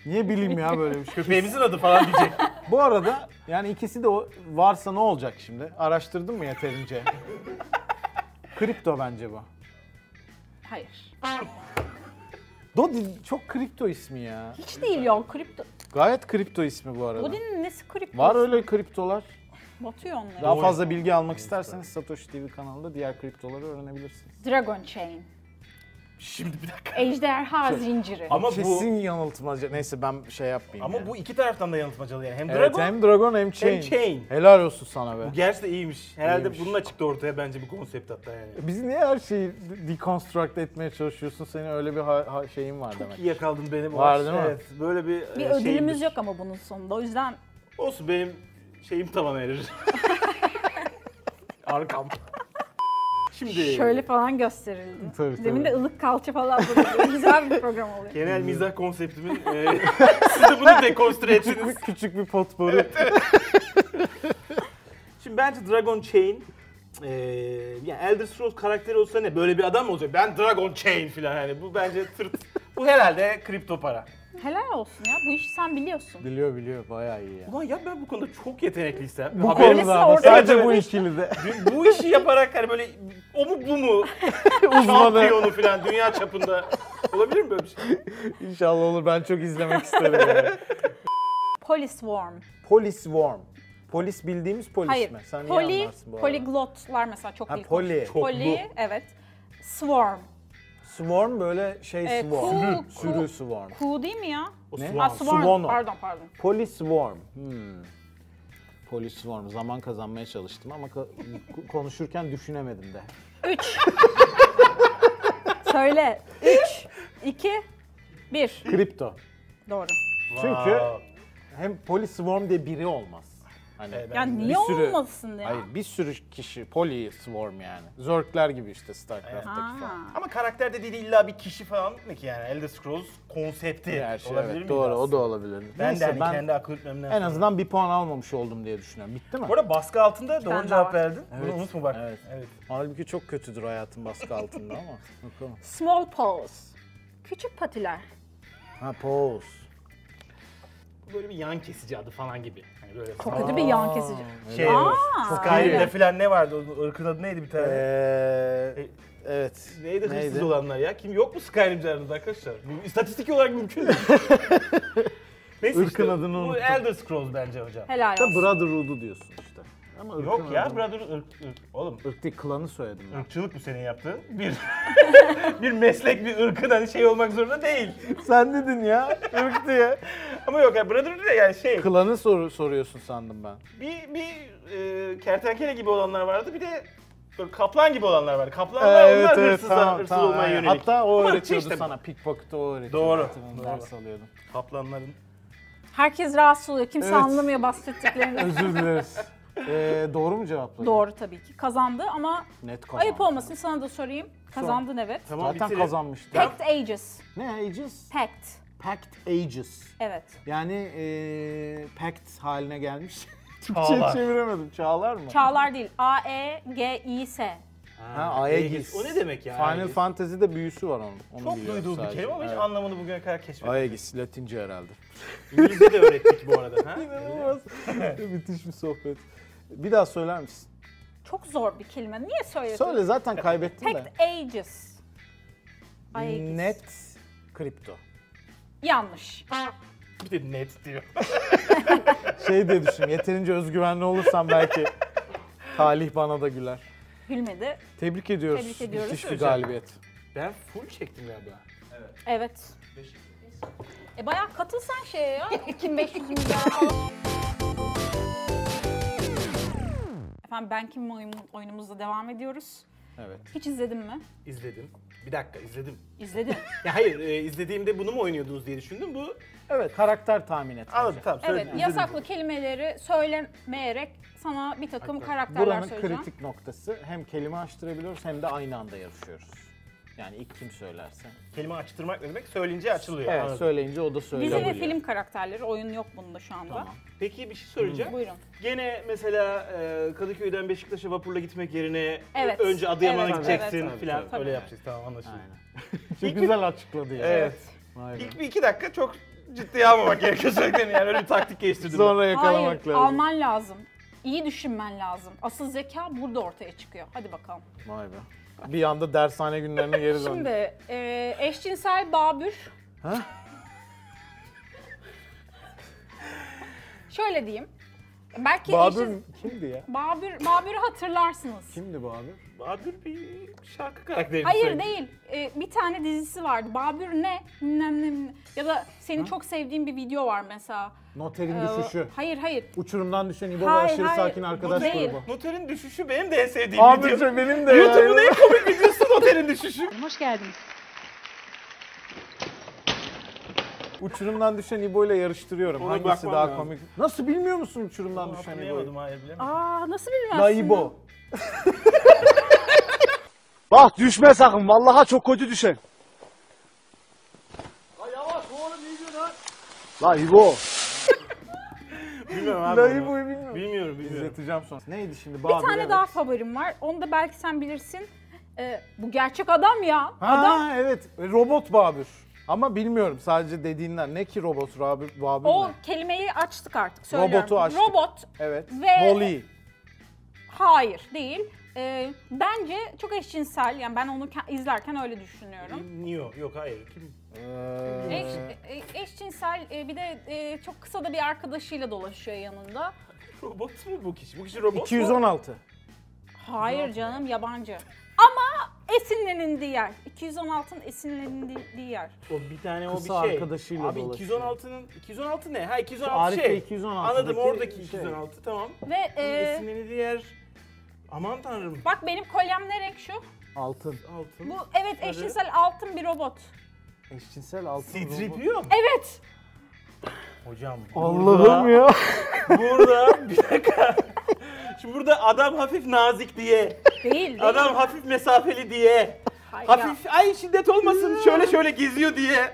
Speaker 2: Niye bileyim ya böyle bir şey?
Speaker 3: Köpeğimizin adı falan diyecek. (laughs)
Speaker 2: Bu arada yani ikisi de o- varsa ne olacak şimdi? Araştırdın mı yeterince? kripto bence bu.
Speaker 1: Hayır.
Speaker 2: Dodi çok kripto ismi ya.
Speaker 1: Hiç değil ya. Kripto.
Speaker 2: Gayet kripto ismi bu arada.
Speaker 1: Dodi'nin nesi kripto?
Speaker 2: Var öyle kriptolar.
Speaker 1: Batıyor onlara.
Speaker 2: Daha fazla bilgi almak isterseniz Satoshi TV kanalında diğer kriptoları öğrenebilirsiniz.
Speaker 1: Dragon Chain.
Speaker 3: Şimdi bir dakika.
Speaker 1: Ejderha zinciri.
Speaker 3: Ama bu
Speaker 2: Kesin yanıltmaca. Neyse ben şey yapmayayım.
Speaker 3: ama
Speaker 2: yani.
Speaker 3: bu iki taraftan da yanıltmacalı yani. Hem
Speaker 2: Evet,
Speaker 3: Dragon
Speaker 2: hem Dragon hem Chain.
Speaker 3: Chain.
Speaker 2: Helal olsun sana be.
Speaker 3: bu gerçi de iyiymiş. Herhalde
Speaker 2: İyiymiş.
Speaker 3: bununla çıktı ortaya bence bu konsept hatta yani.
Speaker 2: Biz niye her şeyi deconstruct etmeye çalışıyorsun? Senin öyle bir ha- ha- şeyin var demek.
Speaker 3: Çok iyi yakaladın benim. o
Speaker 2: Var
Speaker 3: aç-
Speaker 2: değil mi?
Speaker 3: Evet. Böyle bir,
Speaker 1: bir
Speaker 3: e,
Speaker 1: ödülümüz
Speaker 3: şeyimdir.
Speaker 1: yok ama bunun sonunda. O yüzden
Speaker 3: Olsun benim şeyim tamam erir.
Speaker 2: (laughs)
Speaker 3: Arkam. Şimdi
Speaker 1: şöyle falan gösterildi.
Speaker 2: Tabii, tabii.
Speaker 1: Demin de ılık kalça falan böyle
Speaker 2: (laughs)
Speaker 1: güzel bir program oluyor.
Speaker 3: genel
Speaker 2: Hmm.
Speaker 3: mizah konseptimin e, (laughs) siz de bunu
Speaker 2: (laughs)
Speaker 3: dekonstrü ettiniz.
Speaker 2: Küçük bir potpourri.
Speaker 3: Şimdi bence Dragon Chain e, yani Elder Scrolls karakteri olsa ne? Böyle bir adam mı olacak? Ben Dragon Chain falan hani bu bence tırt. bu herhalde kripto para.
Speaker 1: Helal olsun ya. Bu işi sen biliyorsun.
Speaker 2: biliyor biliyor bayağı iyi ya.
Speaker 3: Ulan ya ben bu konuda çok yetenekliysem.
Speaker 2: Bu
Speaker 3: haberim-
Speaker 1: konuda-
Speaker 2: konuda ama
Speaker 1: orada-
Speaker 2: sadece
Speaker 3: Evet,
Speaker 2: bu
Speaker 3: evet.
Speaker 1: (laughs)
Speaker 2: ikili de
Speaker 3: bu işi yaparak hani böyle o mu
Speaker 2: (laughs)
Speaker 3: bu mu?
Speaker 2: uzmanı.
Speaker 3: Şampiyonu falan dünya çapında. Olabilir mi böyle bir şey?
Speaker 2: (laughs) İnşallah olur ben çok izlemek isterim. yani.
Speaker 1: Police Worm.
Speaker 2: (laughs) Polis Worm. Polis bildiğimiz polis
Speaker 1: Hayır.
Speaker 2: mi? Sen iyi
Speaker 1: Poli,
Speaker 2: anlarsın bu arada.
Speaker 1: poliglotlar mesela çok
Speaker 2: Ha,
Speaker 1: iyi.
Speaker 2: poli.
Speaker 1: konuşuyor.
Speaker 2: Çok
Speaker 1: Poli, evet. Swarm.
Speaker 2: Swarm böyle şey
Speaker 1: Ee,
Speaker 2: (laughs) swarm.
Speaker 1: ku-
Speaker 2: Sürü
Speaker 1: ku-
Speaker 2: swarm.
Speaker 1: Ku değil mi ya?
Speaker 2: Ne?
Speaker 1: Ha, swarm.
Speaker 2: Swarm o.
Speaker 1: Pardon pardon.
Speaker 2: Polis Worm. Hmm. Polis Worm. Zaman kazanmaya çalıştım ama ka- konuşurken düşünemedim de. (laughs)
Speaker 1: Üç. Söyle. Üç, iki, bir.
Speaker 2: Kripto.
Speaker 1: Doğru.
Speaker 2: Çünkü hem Polis Swarm diye biri olmaz. Hani
Speaker 1: Ya
Speaker 2: bir
Speaker 1: niye
Speaker 2: sürü-
Speaker 1: olmasın ya?
Speaker 2: Hayır bir sürü kişi Poli Swarm yani. Zergler gibi işte StarCraft'taki falan.
Speaker 1: Ha.
Speaker 3: Ama karakter dediği de illa bir kişi falan mı ki yani? Elder Scrolls konsepti
Speaker 2: Her şey,
Speaker 3: olabilir
Speaker 2: evet,
Speaker 3: mi?
Speaker 2: doğru o da olabilir.
Speaker 3: Ben
Speaker 2: Neyse,
Speaker 3: de hani kendi akıl yürütmemden
Speaker 2: en azından bir puan almamış oldum diye düşünüyorum. Bitti mi?
Speaker 3: Bu arada baskı altında
Speaker 1: tane
Speaker 3: doğru
Speaker 1: daha var.
Speaker 3: cevap verdin.
Speaker 2: Evet,
Speaker 3: Bunu unutma bak.
Speaker 2: evet.
Speaker 3: evet.
Speaker 2: Halbuki çok kötüdür hayatın baskı altında (laughs) ama. Bakalım.
Speaker 1: Small paws. Küçük patiler.
Speaker 2: Ha pause.
Speaker 3: Böyle bir yan kesici adı falan gibi. Hani böyle
Speaker 1: Çok kötü bir yan kesici.
Speaker 3: şey
Speaker 1: Aa,
Speaker 3: Skyrim'de
Speaker 1: öyle.
Speaker 3: falan ne vardı? O ırkın adı neydi bir
Speaker 2: e,
Speaker 3: tane?
Speaker 2: Ee, evet.
Speaker 3: Neydi hırsız olanlar ya? Kim yok mu Skyrim'de aranızda arkadaşlar? Bu istatistik olarak
Speaker 2: (laughs)
Speaker 3: mümkün değil. Neyse
Speaker 2: Irkın
Speaker 3: işte,
Speaker 2: adını
Speaker 3: Bu
Speaker 2: unuttum.
Speaker 3: Elder Scrolls bence hocam.
Speaker 1: Helal
Speaker 2: Da
Speaker 1: olsun.
Speaker 2: Brotherhood'u diyorsun işte. Ama ırkın
Speaker 3: Yok ya
Speaker 2: adını-
Speaker 3: brother ırk, ırk. Oğlum
Speaker 2: Irk değil, klanı söyledim
Speaker 3: (laughs)
Speaker 2: ben.
Speaker 3: ırkçılık bu senin yaptığın. Bir (laughs) bir meslek, bir ırkın hani şey olmak zorunda değil.
Speaker 2: Sen dedin ya, ırk diye.
Speaker 3: Ama yok ya brother de yani şey
Speaker 2: Klanı soru, soruyorsun sandım ben.
Speaker 3: bir bir e, kertenkele gibi olanlar vardı. Bir de böyle kaplan gibi olanlar var. Kaplanlar onlar hırsızlar, hırsız olmaya
Speaker 2: aynen.
Speaker 3: yönelik.
Speaker 2: Hatta o
Speaker 3: Ama
Speaker 2: öğretiyordu
Speaker 3: işte bu.
Speaker 2: sana, pickpocket'ı o öğretiyordu.
Speaker 3: Doğru,
Speaker 2: Hatırlıyorum,
Speaker 3: doğru.
Speaker 2: Ders alıyordum.
Speaker 3: Kaplanların
Speaker 1: Herkes rahatsız oluyor. Kimse
Speaker 2: Evet.
Speaker 1: anlamıyor
Speaker 2: (laughs)
Speaker 1: bahsettiklerini.
Speaker 2: Özür dileriz. Ee, doğru mu cevapladın?
Speaker 1: Doğru tabii ki. Kazandı ama
Speaker 2: Net kazandı.
Speaker 1: ayıp olmasın sana da sorayım. Kazandın evet.
Speaker 3: Tamam
Speaker 2: Zaten
Speaker 3: bitirin.
Speaker 2: kazanmıştı.
Speaker 1: Pact Ages.
Speaker 2: Ne Aegis?
Speaker 1: Pact.
Speaker 2: Pact Aegis.
Speaker 1: Evet.
Speaker 2: Yani ee, pact haline gelmiş. (laughs)
Speaker 3: Çağlar.
Speaker 2: Türkçe'ye çeviremedim. Çağlar mı?
Speaker 1: Çağlar değil. A E G I S.
Speaker 2: Ha, Aegis.
Speaker 3: O ne demek ya?
Speaker 2: Final
Speaker 3: Aegis?
Speaker 2: Fantasy'de büyüsü var onun. Onu
Speaker 3: Çok
Speaker 2: biliyorum
Speaker 3: duyduğu bir
Speaker 2: sadece.
Speaker 3: kelime ama hiç
Speaker 2: şey Evet.
Speaker 3: anlamını bugüne kadar keşfetmedim.
Speaker 2: Aegis, Latince herhalde.
Speaker 3: İngilizce de öğrettik bu arada. Ha?
Speaker 2: (laughs) Müthiş bir sohbet. Bir daha söyler misin?
Speaker 1: Çok zor bir kelime. Niye söylüyorsun?
Speaker 2: Söyle zaten kaybettin de.
Speaker 1: Pact Ages. Aegis.
Speaker 2: Net kripto.
Speaker 1: Yanlış.
Speaker 3: Bir de net diyor.
Speaker 2: Şey diye düşün, yeterince özgüvenli olursan belki Talih bana da güler.
Speaker 1: Gülmedi.
Speaker 2: Tebrik ediyoruz.
Speaker 1: Tebrik ediyoruz.
Speaker 2: Müthiş bir galibiyet.
Speaker 3: Ben full çektim galiba.
Speaker 1: Evet. E bayağı katıl sen şeye ya. 2500 milyar falan. Efendim ben kim oyun- oyunumuzda devam ediyoruz.
Speaker 2: Evet.
Speaker 1: Hiç izledin mi?
Speaker 3: İzledim. Bir dakika izledim.
Speaker 1: İzledim.
Speaker 3: Ya hayır e, izlediğimde bunu mu oynuyordunuz diye düşündüm. Bu
Speaker 2: Evet karakter tahmin et.
Speaker 3: anladım tamam
Speaker 1: (laughs) evet
Speaker 3: söyledim.
Speaker 1: yasaklı kelimeleri söylemeyerek sana bir takım karakterler
Speaker 2: Buranın
Speaker 1: söyleyeceğim.
Speaker 2: kritik noktası hem kelime açtırabiliyoruz hem de aynı anda yarışıyoruz. Yani ilk kim söylerse.
Speaker 3: Kelime açtırmak ne demek? Söyleyince açılıyor.
Speaker 2: Evet
Speaker 3: Anladım.
Speaker 2: söyleyince o da
Speaker 1: Dizi
Speaker 2: söylüyor.
Speaker 1: ve film karakterleri. Oyun yok bunda şu anda.
Speaker 2: Tamam.
Speaker 3: Peki bir şey söyleyeceğim.
Speaker 1: Buyurun.
Speaker 3: Gene mesela e, Kadıköy'den Beşiktaş'a vapurla gitmek yerine
Speaker 1: Evet.
Speaker 3: önce Adıyaman'a
Speaker 1: Evet,
Speaker 3: gideceksin
Speaker 1: evet.
Speaker 3: filan.
Speaker 1: Tabii, tabii.
Speaker 3: Öyle yapacağız tamam anlaşıldı.
Speaker 2: Çok (laughs) güzel açıkladı ya.
Speaker 3: Evet.
Speaker 2: Vay be.
Speaker 3: İlk bir iki dakika çok ciddiye almamak gerekiyor sürekli. Yani öyle bir taktik geliştirdim. ben.
Speaker 2: Sonra yakalamak
Speaker 1: Hayır,
Speaker 2: lazım.
Speaker 1: alman lazım. İyi düşünmen lazım. Asıl zeka burada ortaya çıkıyor. Hadi bakalım.
Speaker 2: Vay be. Bir anda dershane günlerine geri döndü.
Speaker 1: Şimdi e, eşcinsel Babür.
Speaker 2: Ha?
Speaker 1: Şöyle diyeyim. Belki
Speaker 2: Babür
Speaker 1: eşcin-
Speaker 2: kimdi ya?
Speaker 1: Babür, Babür'ü hatırlarsınız.
Speaker 2: Kimdi Babür?
Speaker 1: Ee,
Speaker 3: Bahadır bir şarkı karakteri.
Speaker 1: Hayır değil. E, bir tane dizisi vardı. Babür ne? Nem, nem, nem. Ya da senin çok sevdiğin bir video var mesela.
Speaker 2: Noterin
Speaker 1: Ee,
Speaker 2: düşüşü.
Speaker 1: Hayır hayır.
Speaker 2: Uçurumdan düşen İbo ve
Speaker 1: Hayır,
Speaker 2: aşırı
Speaker 1: hayır.
Speaker 2: sakin
Speaker 1: Bu
Speaker 2: arkadaş
Speaker 1: değil.
Speaker 2: grubu.
Speaker 3: Noterin düşüşü benim de en sevdiğim
Speaker 2: Abi
Speaker 3: video.
Speaker 2: şey benim de
Speaker 3: YouTube'un
Speaker 2: ya.
Speaker 3: en komik videosu noterin düşüşü.
Speaker 1: Hoş geldiniz.
Speaker 2: Uçurumdan düşen İbo ile yarıştırıyorum.
Speaker 3: Ona
Speaker 2: Hangisi
Speaker 3: bakmam
Speaker 2: daha
Speaker 3: lazım.
Speaker 2: komik? Nasıl bilmiyor musun uçurumdan düşen İbo'yu?
Speaker 3: Hatırlayamadım hayır bilemedim.
Speaker 1: Aa nasıl bilmezsin?
Speaker 2: La İbo.
Speaker 6: Bak düşme sakın. Vallaha çok kötü düşen. La yavaş oğlum iyi lan. La İbo.
Speaker 3: Bilmiyorum abi.
Speaker 2: La
Speaker 3: onu.
Speaker 2: İbo'yu bilmiyorum.
Speaker 3: Bilmiyorum bilmiyorum.
Speaker 2: İzleteceğim sonra. Neydi şimdi?
Speaker 1: Bir
Speaker 2: Babür,
Speaker 1: tane
Speaker 2: evet.
Speaker 1: daha favorim var. Onu da belki sen bilirsin. Ee, bu gerçek adam ya.
Speaker 2: Ha
Speaker 1: Adam
Speaker 2: evet. Robot Babür. Ama bilmiyorum sadece dediğinden. Ne ki robot Babür? Babür
Speaker 1: o
Speaker 2: ne?
Speaker 1: kelimeyi açtık artık söylüyorum.
Speaker 2: Robotu açtık.
Speaker 1: Robot
Speaker 2: Evet.
Speaker 1: Ve-
Speaker 2: Wall-E.
Speaker 1: hayır değil. Ee, bence çok eşcinsel. Yani ben onu ke- izlerken öyle düşünüyorum.
Speaker 3: Neo yok hayır. Kim?
Speaker 2: Ee,
Speaker 1: Eş, e- eşcinsel e, bir de e, çok kısa da bir arkadaşıyla dolaşıyor yanında.
Speaker 3: Robot mu bu kişi? Bu kişi robot mu?
Speaker 2: 216.
Speaker 1: Hayır canım yabancı. Ama esinlenildiği yer. 216'ın esinlenildiği yer.
Speaker 3: O bir tane o bir şey.
Speaker 2: Kısa arkadaşıyla
Speaker 3: Abi
Speaker 2: dolaşıyor.
Speaker 3: 216'nın 216 ne? Ha 216
Speaker 2: Arif
Speaker 3: şey.
Speaker 2: Bey 216'daki
Speaker 3: Anladım oradaki
Speaker 2: şey.
Speaker 3: 216 tamam.
Speaker 1: Ve e,
Speaker 3: Esinleni diğer Aman tanrım.
Speaker 1: bak benim kolyem ne renk şu?
Speaker 2: Altın.
Speaker 3: Altın.
Speaker 1: Bu evet eşcinsel altın bir robot.
Speaker 2: Eşcinsel altın robot.
Speaker 3: C-3PO mu?
Speaker 1: Evet.
Speaker 3: Hocam.
Speaker 2: Allah'ım ya.
Speaker 3: Burada bir dakika. Şimdi burada adam hafif nazik diye,
Speaker 1: Değil. değil.
Speaker 3: adam hafif mesafeli diye,
Speaker 1: Hayır,
Speaker 3: hafif ay şiddet olmasın şöyle şöyle geziyor diye.
Speaker 1: ya,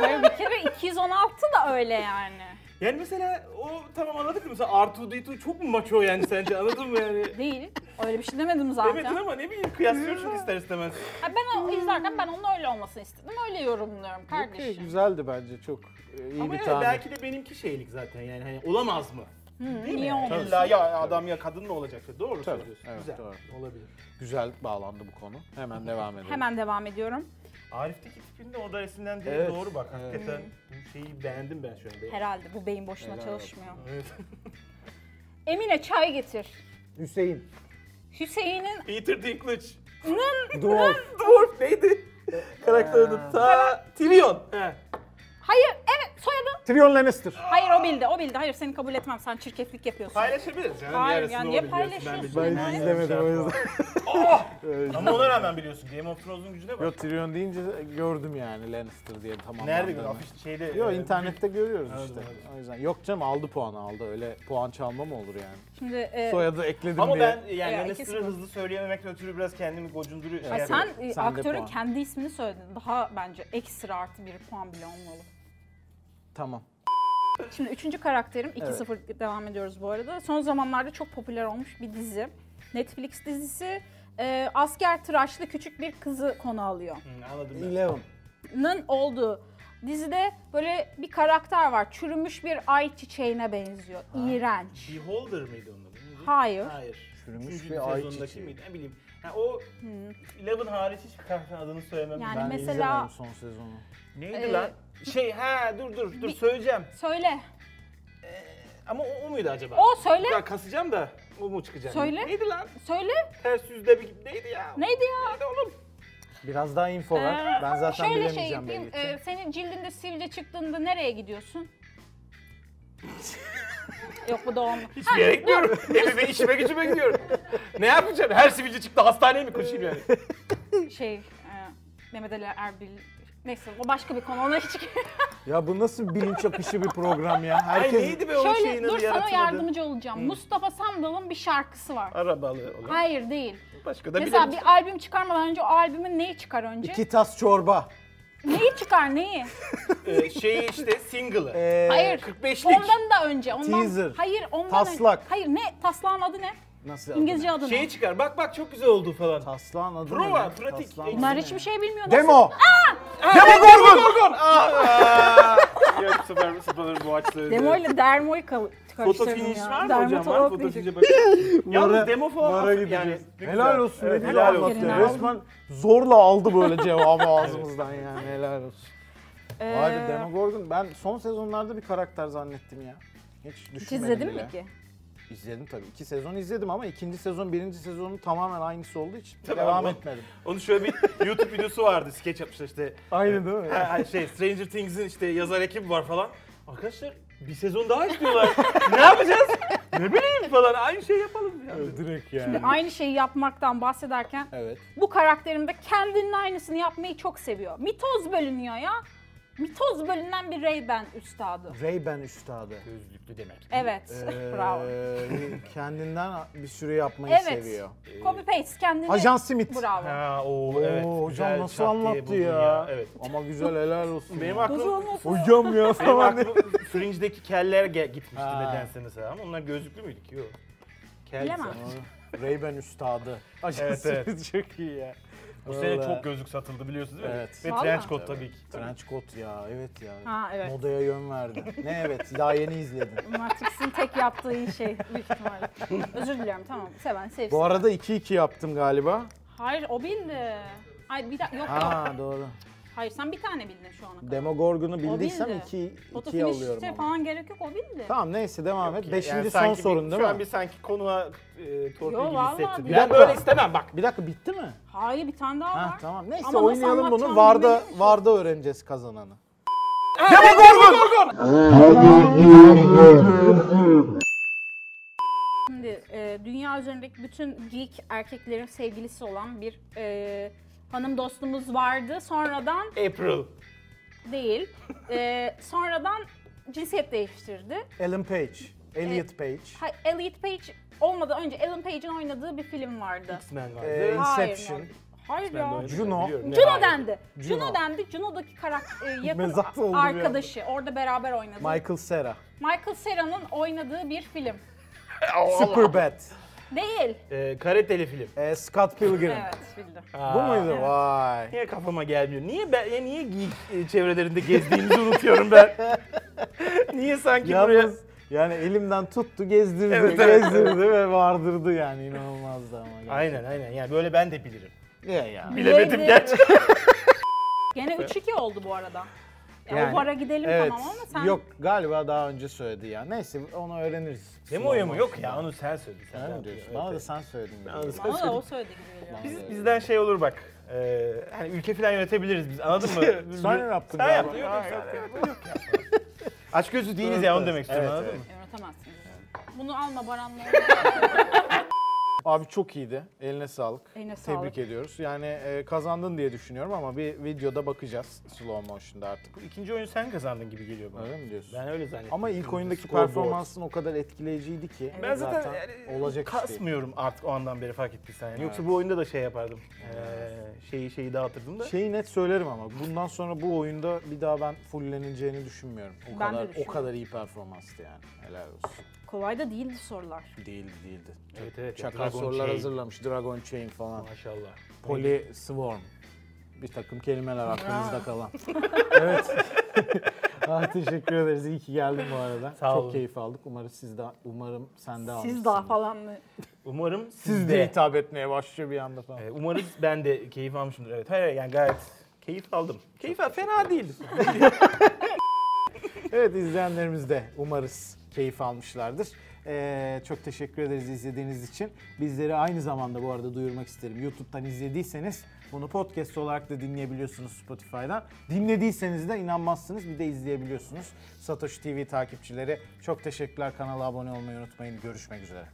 Speaker 1: hayır, bir kere 216 da öyle yani.
Speaker 3: Yani mesela o tamam anladık mı? Mesela R2D2 çok mu maço yani sence anladın mı yani?
Speaker 1: Değil. Öyle bir şey demedim zaten.
Speaker 3: Demedin ama ne bileyim kıyaslıyorsun ister istemez.
Speaker 1: Ha, ben o, izlerken ben onun öyle olmasını istedim. Öyle yorumluyorum
Speaker 2: Okey,
Speaker 1: kardeşim.
Speaker 2: güzeldi bence çok e, iyi
Speaker 3: Ama
Speaker 2: bir
Speaker 3: yani
Speaker 2: tane.
Speaker 3: belki de benimki şeylik zaten yani hani olamaz mı?
Speaker 1: Niye olmasın?
Speaker 3: İlla ya adam ya kadın mı olacak? Doğru
Speaker 2: Tabii,
Speaker 3: söylüyorsun.
Speaker 2: evet,
Speaker 3: Güzel.
Speaker 2: doğru.
Speaker 3: Olabilir.
Speaker 2: Güzel bağlandı bu konu. Hemen devam edelim.
Speaker 1: Hemen devam ediyorum.
Speaker 3: Arif'teki tipinde o da resimden direkt
Speaker 2: Evet,
Speaker 3: doğru bak.
Speaker 2: evet.
Speaker 3: Hakikaten bu şeyi beğendim ben şu anda.
Speaker 1: Herhalde bu beyin boşuna çalışmıyor.
Speaker 3: Evet. (laughs)
Speaker 1: Emine çay getir.
Speaker 2: Hüseyin.
Speaker 1: Hüseyin'in
Speaker 3: Peter Dinklage.
Speaker 2: Dwarf.
Speaker 3: Dwarf neydi? Karakter adı ta Tyrion. He.
Speaker 1: hayır evet soyadı.
Speaker 2: Tyrion Lannister.
Speaker 1: Hayır o bildi o bildi. Hayır seni kabul etmem. Sen çirkeflik yapıyorsun.
Speaker 3: Paylaşabiliriz canım.
Speaker 1: Hayır,
Speaker 3: yarısını
Speaker 1: yani
Speaker 3: o
Speaker 1: niye
Speaker 3: biliyorsun, ben
Speaker 1: paylaşıyorsun?
Speaker 2: Ben
Speaker 3: biliyorum.
Speaker 2: hiç izlemedim o yüzden.
Speaker 3: Oh! Ama ona rağmen biliyorsun Game of Thrones'un gücüne bak.
Speaker 2: Yok Tyrion deyince gördüm yani Lannister diye tamam.
Speaker 3: Nerede bir afiş şeyde.
Speaker 2: Yok
Speaker 3: e,
Speaker 2: internette görüyoruz
Speaker 3: Anladım,
Speaker 2: işte.
Speaker 3: anladım.
Speaker 2: O yüzden yok canım aldı puan aldı. Öyle puan çalma mı olur yani?
Speaker 1: Şimdi e,
Speaker 2: Soyadı ekledim
Speaker 3: Ama
Speaker 2: diye.
Speaker 3: ben yani
Speaker 1: Ya,
Speaker 3: Lannister'ı
Speaker 1: ikisi-
Speaker 3: hızlı söyleyememekle ötürü biraz kendimi gocunduruyor.
Speaker 1: ay
Speaker 3: şey
Speaker 1: sen,
Speaker 3: yapıyorum.
Speaker 1: e,
Speaker 2: Sen de
Speaker 1: aktörün
Speaker 2: puan.
Speaker 1: kendi ismini söyledin. Daha bence ekstra artı bir puan bile olmalı.
Speaker 2: Tamam.
Speaker 1: Şimdi üçüncü karakterim 2-0 devam ediyoruz bu arada. Son zamanlarda çok popüler olmuş bir dizi. Netflix dizisi. Ee, asker tıraşlı küçük bir kızı konu alıyor.
Speaker 3: Hı, Anladım ben.
Speaker 2: Eleven.
Speaker 1: Nın olduğu dizide böyle bir karakter var. Çürümüş bir ay çiçeğine benziyor. İğrenç.
Speaker 3: Beholder mıydı onun adı? Neydi?
Speaker 1: Hayır.
Speaker 3: Hayır.
Speaker 2: Çürümüş
Speaker 3: Üçüncü
Speaker 2: bir ay
Speaker 3: sezondaki
Speaker 2: çiçeği.
Speaker 3: miydi? Ne bileyim. Ha, o Eleven hariç hiçbir karakterin adını söylemem.
Speaker 1: Yani
Speaker 2: Ben
Speaker 1: mesela-
Speaker 2: izlemedim son sezonu.
Speaker 3: Neydi
Speaker 1: Ee,
Speaker 3: lan? Şey ha dur dur dur
Speaker 1: Bir-
Speaker 3: söyleyeceğim.
Speaker 1: Söyle.
Speaker 3: Ama o, o muydu acaba?
Speaker 1: O söyle.
Speaker 3: Ya kasacağım da. O mu çıkacak?
Speaker 1: Söyle.
Speaker 3: Neydi lan?
Speaker 1: Söyle.
Speaker 3: Ters yüzde bir neydi ya?
Speaker 1: Neydi ya?
Speaker 3: Neydi oğlum?
Speaker 2: Biraz daha info ver.
Speaker 1: Ee,
Speaker 2: Şey Ben zaten
Speaker 1: şöyle şey
Speaker 2: bilemeyeceğim
Speaker 1: yapayım.
Speaker 2: belli ki.
Speaker 1: e, senin cildinde sivilce çıktığında nereye
Speaker 2: (laughs)
Speaker 1: gidiyorsun? Yok bu doğum.
Speaker 3: Hiçbir yere gitmiyorum. Evime, işime, gücüme gidiyorum. ne yapacağım? Her sivilce çıktı hastaneye mi koşayım yani?
Speaker 1: Şey, e, Mehmet Ali Erbil. Neyse o başka bir konu. Ona hiç e,
Speaker 2: Ya bu nasıl bilinç akışı bir program ya?
Speaker 3: Ay
Speaker 2: Herkes
Speaker 3: neydi be o şeyin
Speaker 1: (laughs) Şöyle
Speaker 3: adı
Speaker 1: dur sana
Speaker 3: yaratılmadı.
Speaker 1: yardımcı olacağım. Mustafa Sandal'ın bir şarkısı var.
Speaker 3: Arabalı olan.
Speaker 1: Hayır değil.
Speaker 3: Başka da
Speaker 1: Mesela
Speaker 3: bilemem.
Speaker 1: bir albüm çıkarmadan önce o albümün neyi çıkar önce?
Speaker 2: iki tas çorba.
Speaker 1: Neyi çıkar neyi?
Speaker 3: Ee, şeyi işte
Speaker 2: (laughs)
Speaker 3: single'ı.
Speaker 2: Ee,
Speaker 1: Hayır.
Speaker 3: 45'lik.
Speaker 1: Ondan da önce. Ondan,
Speaker 2: Teaser.
Speaker 1: Hayır ondan
Speaker 2: Taslak. Şey
Speaker 1: önce. Hayır ne? Taslağın adı ne?
Speaker 2: Nasıl adı
Speaker 1: İngilizce
Speaker 2: ne?
Speaker 1: adı ne?
Speaker 3: Şeyi çıkar. Bak bak çok güzel oldu falan.
Speaker 2: Taslağın adı ne?
Speaker 3: Prova,
Speaker 2: lan?
Speaker 3: pratik.
Speaker 2: Taslağın adı
Speaker 1: Bunlar
Speaker 2: ne?
Speaker 1: hiçbir şey bilmiyor.
Speaker 2: Demo.
Speaker 3: Gorgon. Aa. Yok süper mi sıpanır bu açları.
Speaker 1: Demo ile dermoyu kal-
Speaker 3: Foto
Speaker 1: karıştırdım
Speaker 3: finish
Speaker 1: ya.
Speaker 3: var mı
Speaker 1: Dermatolog
Speaker 3: hocam? Var foto
Speaker 1: diyecek.
Speaker 3: finish'e bakın.
Speaker 2: Nara-
Speaker 3: Yalnız demo falan
Speaker 2: Nara
Speaker 3: atın yani.
Speaker 2: gideceğiz.
Speaker 3: Ne
Speaker 2: Helal
Speaker 3: güzel.
Speaker 2: olsun.
Speaker 3: Evet,
Speaker 2: ne
Speaker 3: helal
Speaker 2: helal
Speaker 3: olsun.
Speaker 1: Yerine al.
Speaker 2: Resmen zorla aldı böyle cevabı ağzımızdan yani. Helal olsun. Vay be
Speaker 1: Ee,
Speaker 2: Demogorgon. Ben son sezonlarda bir karakter zannettim ya. Hiç
Speaker 1: Hiç
Speaker 2: düşünmedim
Speaker 1: izledin
Speaker 2: bile.
Speaker 1: mi ki?
Speaker 2: İzledim tabii. İki sezon izledim ama ikinci sezon birinci sezonun tamamen aynısı olduğu için
Speaker 3: Tabii
Speaker 2: devam
Speaker 3: abi.
Speaker 2: etmedim.
Speaker 3: Onun şöyle bir YouTube videosu vardı. Skeç yapmışlar işte.
Speaker 2: Aynı değil mi?
Speaker 3: Ha, ha, şey Stranger Things'in işte yazar ekibi var falan. Arkadaşlar bir sezon daha istiyorlar. ne yapacağız? Ne bileyim falan. Aynı şey yapalım ya.
Speaker 2: Direkt yani.
Speaker 1: Aynı şeyi yapmaktan bahsederken
Speaker 2: Evet.
Speaker 1: bu karakterimde kendinin aynısını yapmayı çok seviyor. Mitoz bölünüyor ya. Mitoz bölünen bir Ray-Ban
Speaker 2: (laughs)
Speaker 1: üstadı.
Speaker 2: Ray-Ban üstadı.
Speaker 3: Gözlüklü demek.
Speaker 1: Evet. (laughs) Bravo.
Speaker 2: Ee, kendinden bir sürü yapmayı
Speaker 1: Evet.
Speaker 2: seviyor.
Speaker 1: Copy paste kendini.
Speaker 2: Ajan Smith.
Speaker 1: Bravo.
Speaker 3: Ha o
Speaker 2: Oo,
Speaker 3: evet.
Speaker 2: hocam
Speaker 3: güzel
Speaker 2: nasıl
Speaker 3: çat diye
Speaker 2: anlattı
Speaker 3: buldun
Speaker 2: ya.
Speaker 3: Evet.
Speaker 2: Ama güzel helal olsun.
Speaker 3: Benim
Speaker 2: ya.
Speaker 3: aklım
Speaker 2: Hocam ya
Speaker 3: Benim
Speaker 2: falan.
Speaker 3: aklım Fringe'deki keller ge- gitmişti
Speaker 2: Ha.
Speaker 3: nedense mesela ama onlar gözlüklü müydü ki? Yok. Kel
Speaker 1: Bilemem.
Speaker 3: sanırım.
Speaker 2: Ray-Ban üstadı. Ajan (laughs)
Speaker 3: Evet,
Speaker 2: Smith
Speaker 3: evet.
Speaker 2: çok iyi ya.
Speaker 3: Bu sene
Speaker 2: Vallahi.
Speaker 3: çok gözlük satıldı biliyorsunuz değil mi?
Speaker 2: Evet.
Speaker 3: Ve
Speaker 1: Vallahi.
Speaker 3: trench coat tabii ki.
Speaker 2: Trench coat ya evet ya.
Speaker 1: Ha, evet.
Speaker 2: Modaya yön verdi. ne evet daha yeni izledim.
Speaker 1: Matrix'in tek yaptığı iyi şey büyük
Speaker 2: (laughs)
Speaker 1: ihtimalle. Özür diliyorum tamam. Seven sevsin.
Speaker 2: Bu arada 2-2 yaptım galiba.
Speaker 1: Hayır o bildi. Ay bir da- yok yok.
Speaker 2: Ha doğru.
Speaker 1: Hayır sen bir tane bildin şu ana kadar.
Speaker 2: Demogorgon'u
Speaker 1: O
Speaker 2: bildiysem
Speaker 1: bildi.
Speaker 2: 2
Speaker 1: Foto
Speaker 2: 2'ye alıyorum.
Speaker 1: finish'e
Speaker 2: ama.
Speaker 1: falan gerek yok o bildi.
Speaker 2: Tamam neyse devam et.
Speaker 3: Yani
Speaker 2: Beşinci son
Speaker 3: sanki bir-
Speaker 2: sorun değil
Speaker 3: Şu an
Speaker 2: mi?
Speaker 3: bir sanki konuğa e, torpil
Speaker 1: Yo,
Speaker 3: gibi
Speaker 1: vallahi
Speaker 3: hissettim.
Speaker 1: bir-
Speaker 3: Ben
Speaker 2: Bir dakika.
Speaker 3: böyle istemem bak.
Speaker 2: Bir dakika bitti mi?
Speaker 1: Hayır bir tane daha
Speaker 2: Ha
Speaker 1: var.
Speaker 2: tamam. Neyse
Speaker 1: Ama nasıl
Speaker 2: oynayalım bunu.
Speaker 1: anlatacağımı
Speaker 2: Varda
Speaker 1: bilmiyorum.
Speaker 2: Varda öğreneceğiz kazananı.
Speaker 1: Şimdi e, dünya üzerindeki bütün geek erkeklerin sevgilisi olan bir e, hanım dostumuz vardı. Sonradan
Speaker 3: April.
Speaker 1: değil. E, sonradan cinsiyet değiştirdi.
Speaker 2: Ellen Page, Elliot Page,
Speaker 1: Ha, Elliot Page olmadan önce Ellen Page'in oynadığı bir film vardı.
Speaker 3: X-Men vardı.
Speaker 2: e,
Speaker 1: Hayır,
Speaker 2: Inception,
Speaker 1: yani. Hayır ya.
Speaker 3: Biliyorum,
Speaker 2: Juno.
Speaker 3: biliyorum.
Speaker 1: Juno
Speaker 3: Hayır.
Speaker 1: dendi. Juno,
Speaker 2: Juno.
Speaker 1: dendi. Juno'daki karakter
Speaker 2: (laughs) Mezat oldu
Speaker 1: yakın
Speaker 2: bir
Speaker 1: arkadaşı. Orada beraber oynadı.
Speaker 2: Michael Cera,
Speaker 1: Michael Sera'nın oynadığı bir film.
Speaker 2: Superbad,
Speaker 1: Değil.
Speaker 3: E, kareteli film.
Speaker 2: e, Scott Pilgrim.
Speaker 1: Evet bildim.
Speaker 2: Bu muydu? Vay.
Speaker 3: Niye kafama gelmiyor? Niye ben ya niye geek e, çevrelerinde gezdiğimizi (laughs) unutuyorum ben? niye sanki buraya
Speaker 2: Yalnız yani elimden tuttu gezdirdi,
Speaker 3: Evet, evet.
Speaker 2: gezdirdi ve vardırdı yani inanılmazdı ama. gerçekten.
Speaker 3: Aynen aynen. Yani böyle ben de bilirim.
Speaker 2: Ya ya.
Speaker 3: Bilemedim
Speaker 1: Bilemedim.
Speaker 3: gerçekten.
Speaker 1: (laughs) Gene 3-2 oldu bu arada. Ya
Speaker 2: Yani,
Speaker 1: o bara gidelim
Speaker 2: Evet.
Speaker 1: tamam ama sen...
Speaker 2: Yok galiba daha önce söyledi ya. Neyse onu öğreniriz.
Speaker 3: Demo'ya mı? Yok ya onu sen söyle. Sen
Speaker 2: Öyle mi
Speaker 3: yap.
Speaker 2: diyorsun?
Speaker 3: Evet,
Speaker 2: Bana da
Speaker 3: evet.
Speaker 2: sen söyledin. gibi.
Speaker 3: Bana da sen
Speaker 1: Bana da o söyledi gibi geliyor.
Speaker 3: Biz, bizden şey olur bak. E, hani ülke falan yönetebiliriz biz. Anladın
Speaker 2: (laughs)
Speaker 3: mı?
Speaker 2: Sen yaptın
Speaker 3: Sen
Speaker 2: galiba.
Speaker 3: yaptın. Yok, yok, yok, yok, yok. Aç gözlü değiliz ya onu demek istiyorum
Speaker 2: Evet,
Speaker 3: anladın
Speaker 2: evet.
Speaker 3: mı?
Speaker 1: Yönetemezsiniz. Bunu alma
Speaker 2: (laughs)
Speaker 1: Baran'la.
Speaker 2: Abi çok iyiydi. Eline sağlık.
Speaker 1: Eline
Speaker 2: Tebrik
Speaker 1: sağlık.
Speaker 2: ediyoruz. Yani e, kazandın diye düşünüyorum ama bir videoda bakacağız slow motion'da artık.
Speaker 3: Bu ikinci oyunu sen kazandın gibi geliyor bana.
Speaker 2: Öyle mi diyorsun?
Speaker 3: Ben öyle zannettim.
Speaker 2: Ama ilk oyundaki
Speaker 3: Scoreboard.
Speaker 2: performansın o kadar etkileyiciydi ki.
Speaker 3: Ben zaten, yani
Speaker 2: olacak iş değil.
Speaker 3: kasmıyorum artık o andan beri fark ettiysen. Yani. Yoksa bu oyunda da şey yapardım. Ee, şeyi şeyi dağıtırdım da.
Speaker 2: Şeyi net söylerim ama bundan sonra bu oyunda bir daha ben fullenileceğini düşünmüyorum.
Speaker 1: Ben de
Speaker 2: O kadar o
Speaker 1: düşünmüyorum.
Speaker 2: kadar iyi performanstı yani. Helal olsun.
Speaker 1: Kolay da değildi sorular.
Speaker 2: Değildi değildi.
Speaker 3: evet evet.
Speaker 2: Çakal
Speaker 3: Dragon
Speaker 2: sorular
Speaker 3: Chain.
Speaker 2: hazırlamış. Dragon Chain falan.
Speaker 3: Maşallah.
Speaker 2: Poli Swarm. Bir takım kelimeler aklınızda kalan. evet. (laughs) ah, teşekkür ederiz. İyi ki geldin bu arada.
Speaker 3: Sağ
Speaker 2: Çok
Speaker 3: olun.
Speaker 2: keyif aldık. Umarım siz de umarım sen de
Speaker 1: Siz
Speaker 2: almışsındır.
Speaker 1: daha falan mı?
Speaker 3: Umarım
Speaker 2: Siz de hitap etmeye başlıyor bir anda falan.
Speaker 3: Ee, umarız ben de keyif almışımdır. Evet. Hayır hayır, yani gayet keyif aldım. Keyif al, fena değil.
Speaker 2: Evet izleyenlerimiz de umarız keyif almışlardır. Ee, çok teşekkür ederiz izlediğiniz için. Bizleri aynı zamanda bu arada duyurmak isterim. YouTube'dan izlediyseniz bunu podcast olarak da dinleyebiliyorsunuz Spotify'dan. Dinlediyseniz de inanmazsınız bir de izleyebiliyorsunuz. Satoshi TV takipçileri çok teşekkürler. Kanala abone olmayı unutmayın. Görüşmek üzere.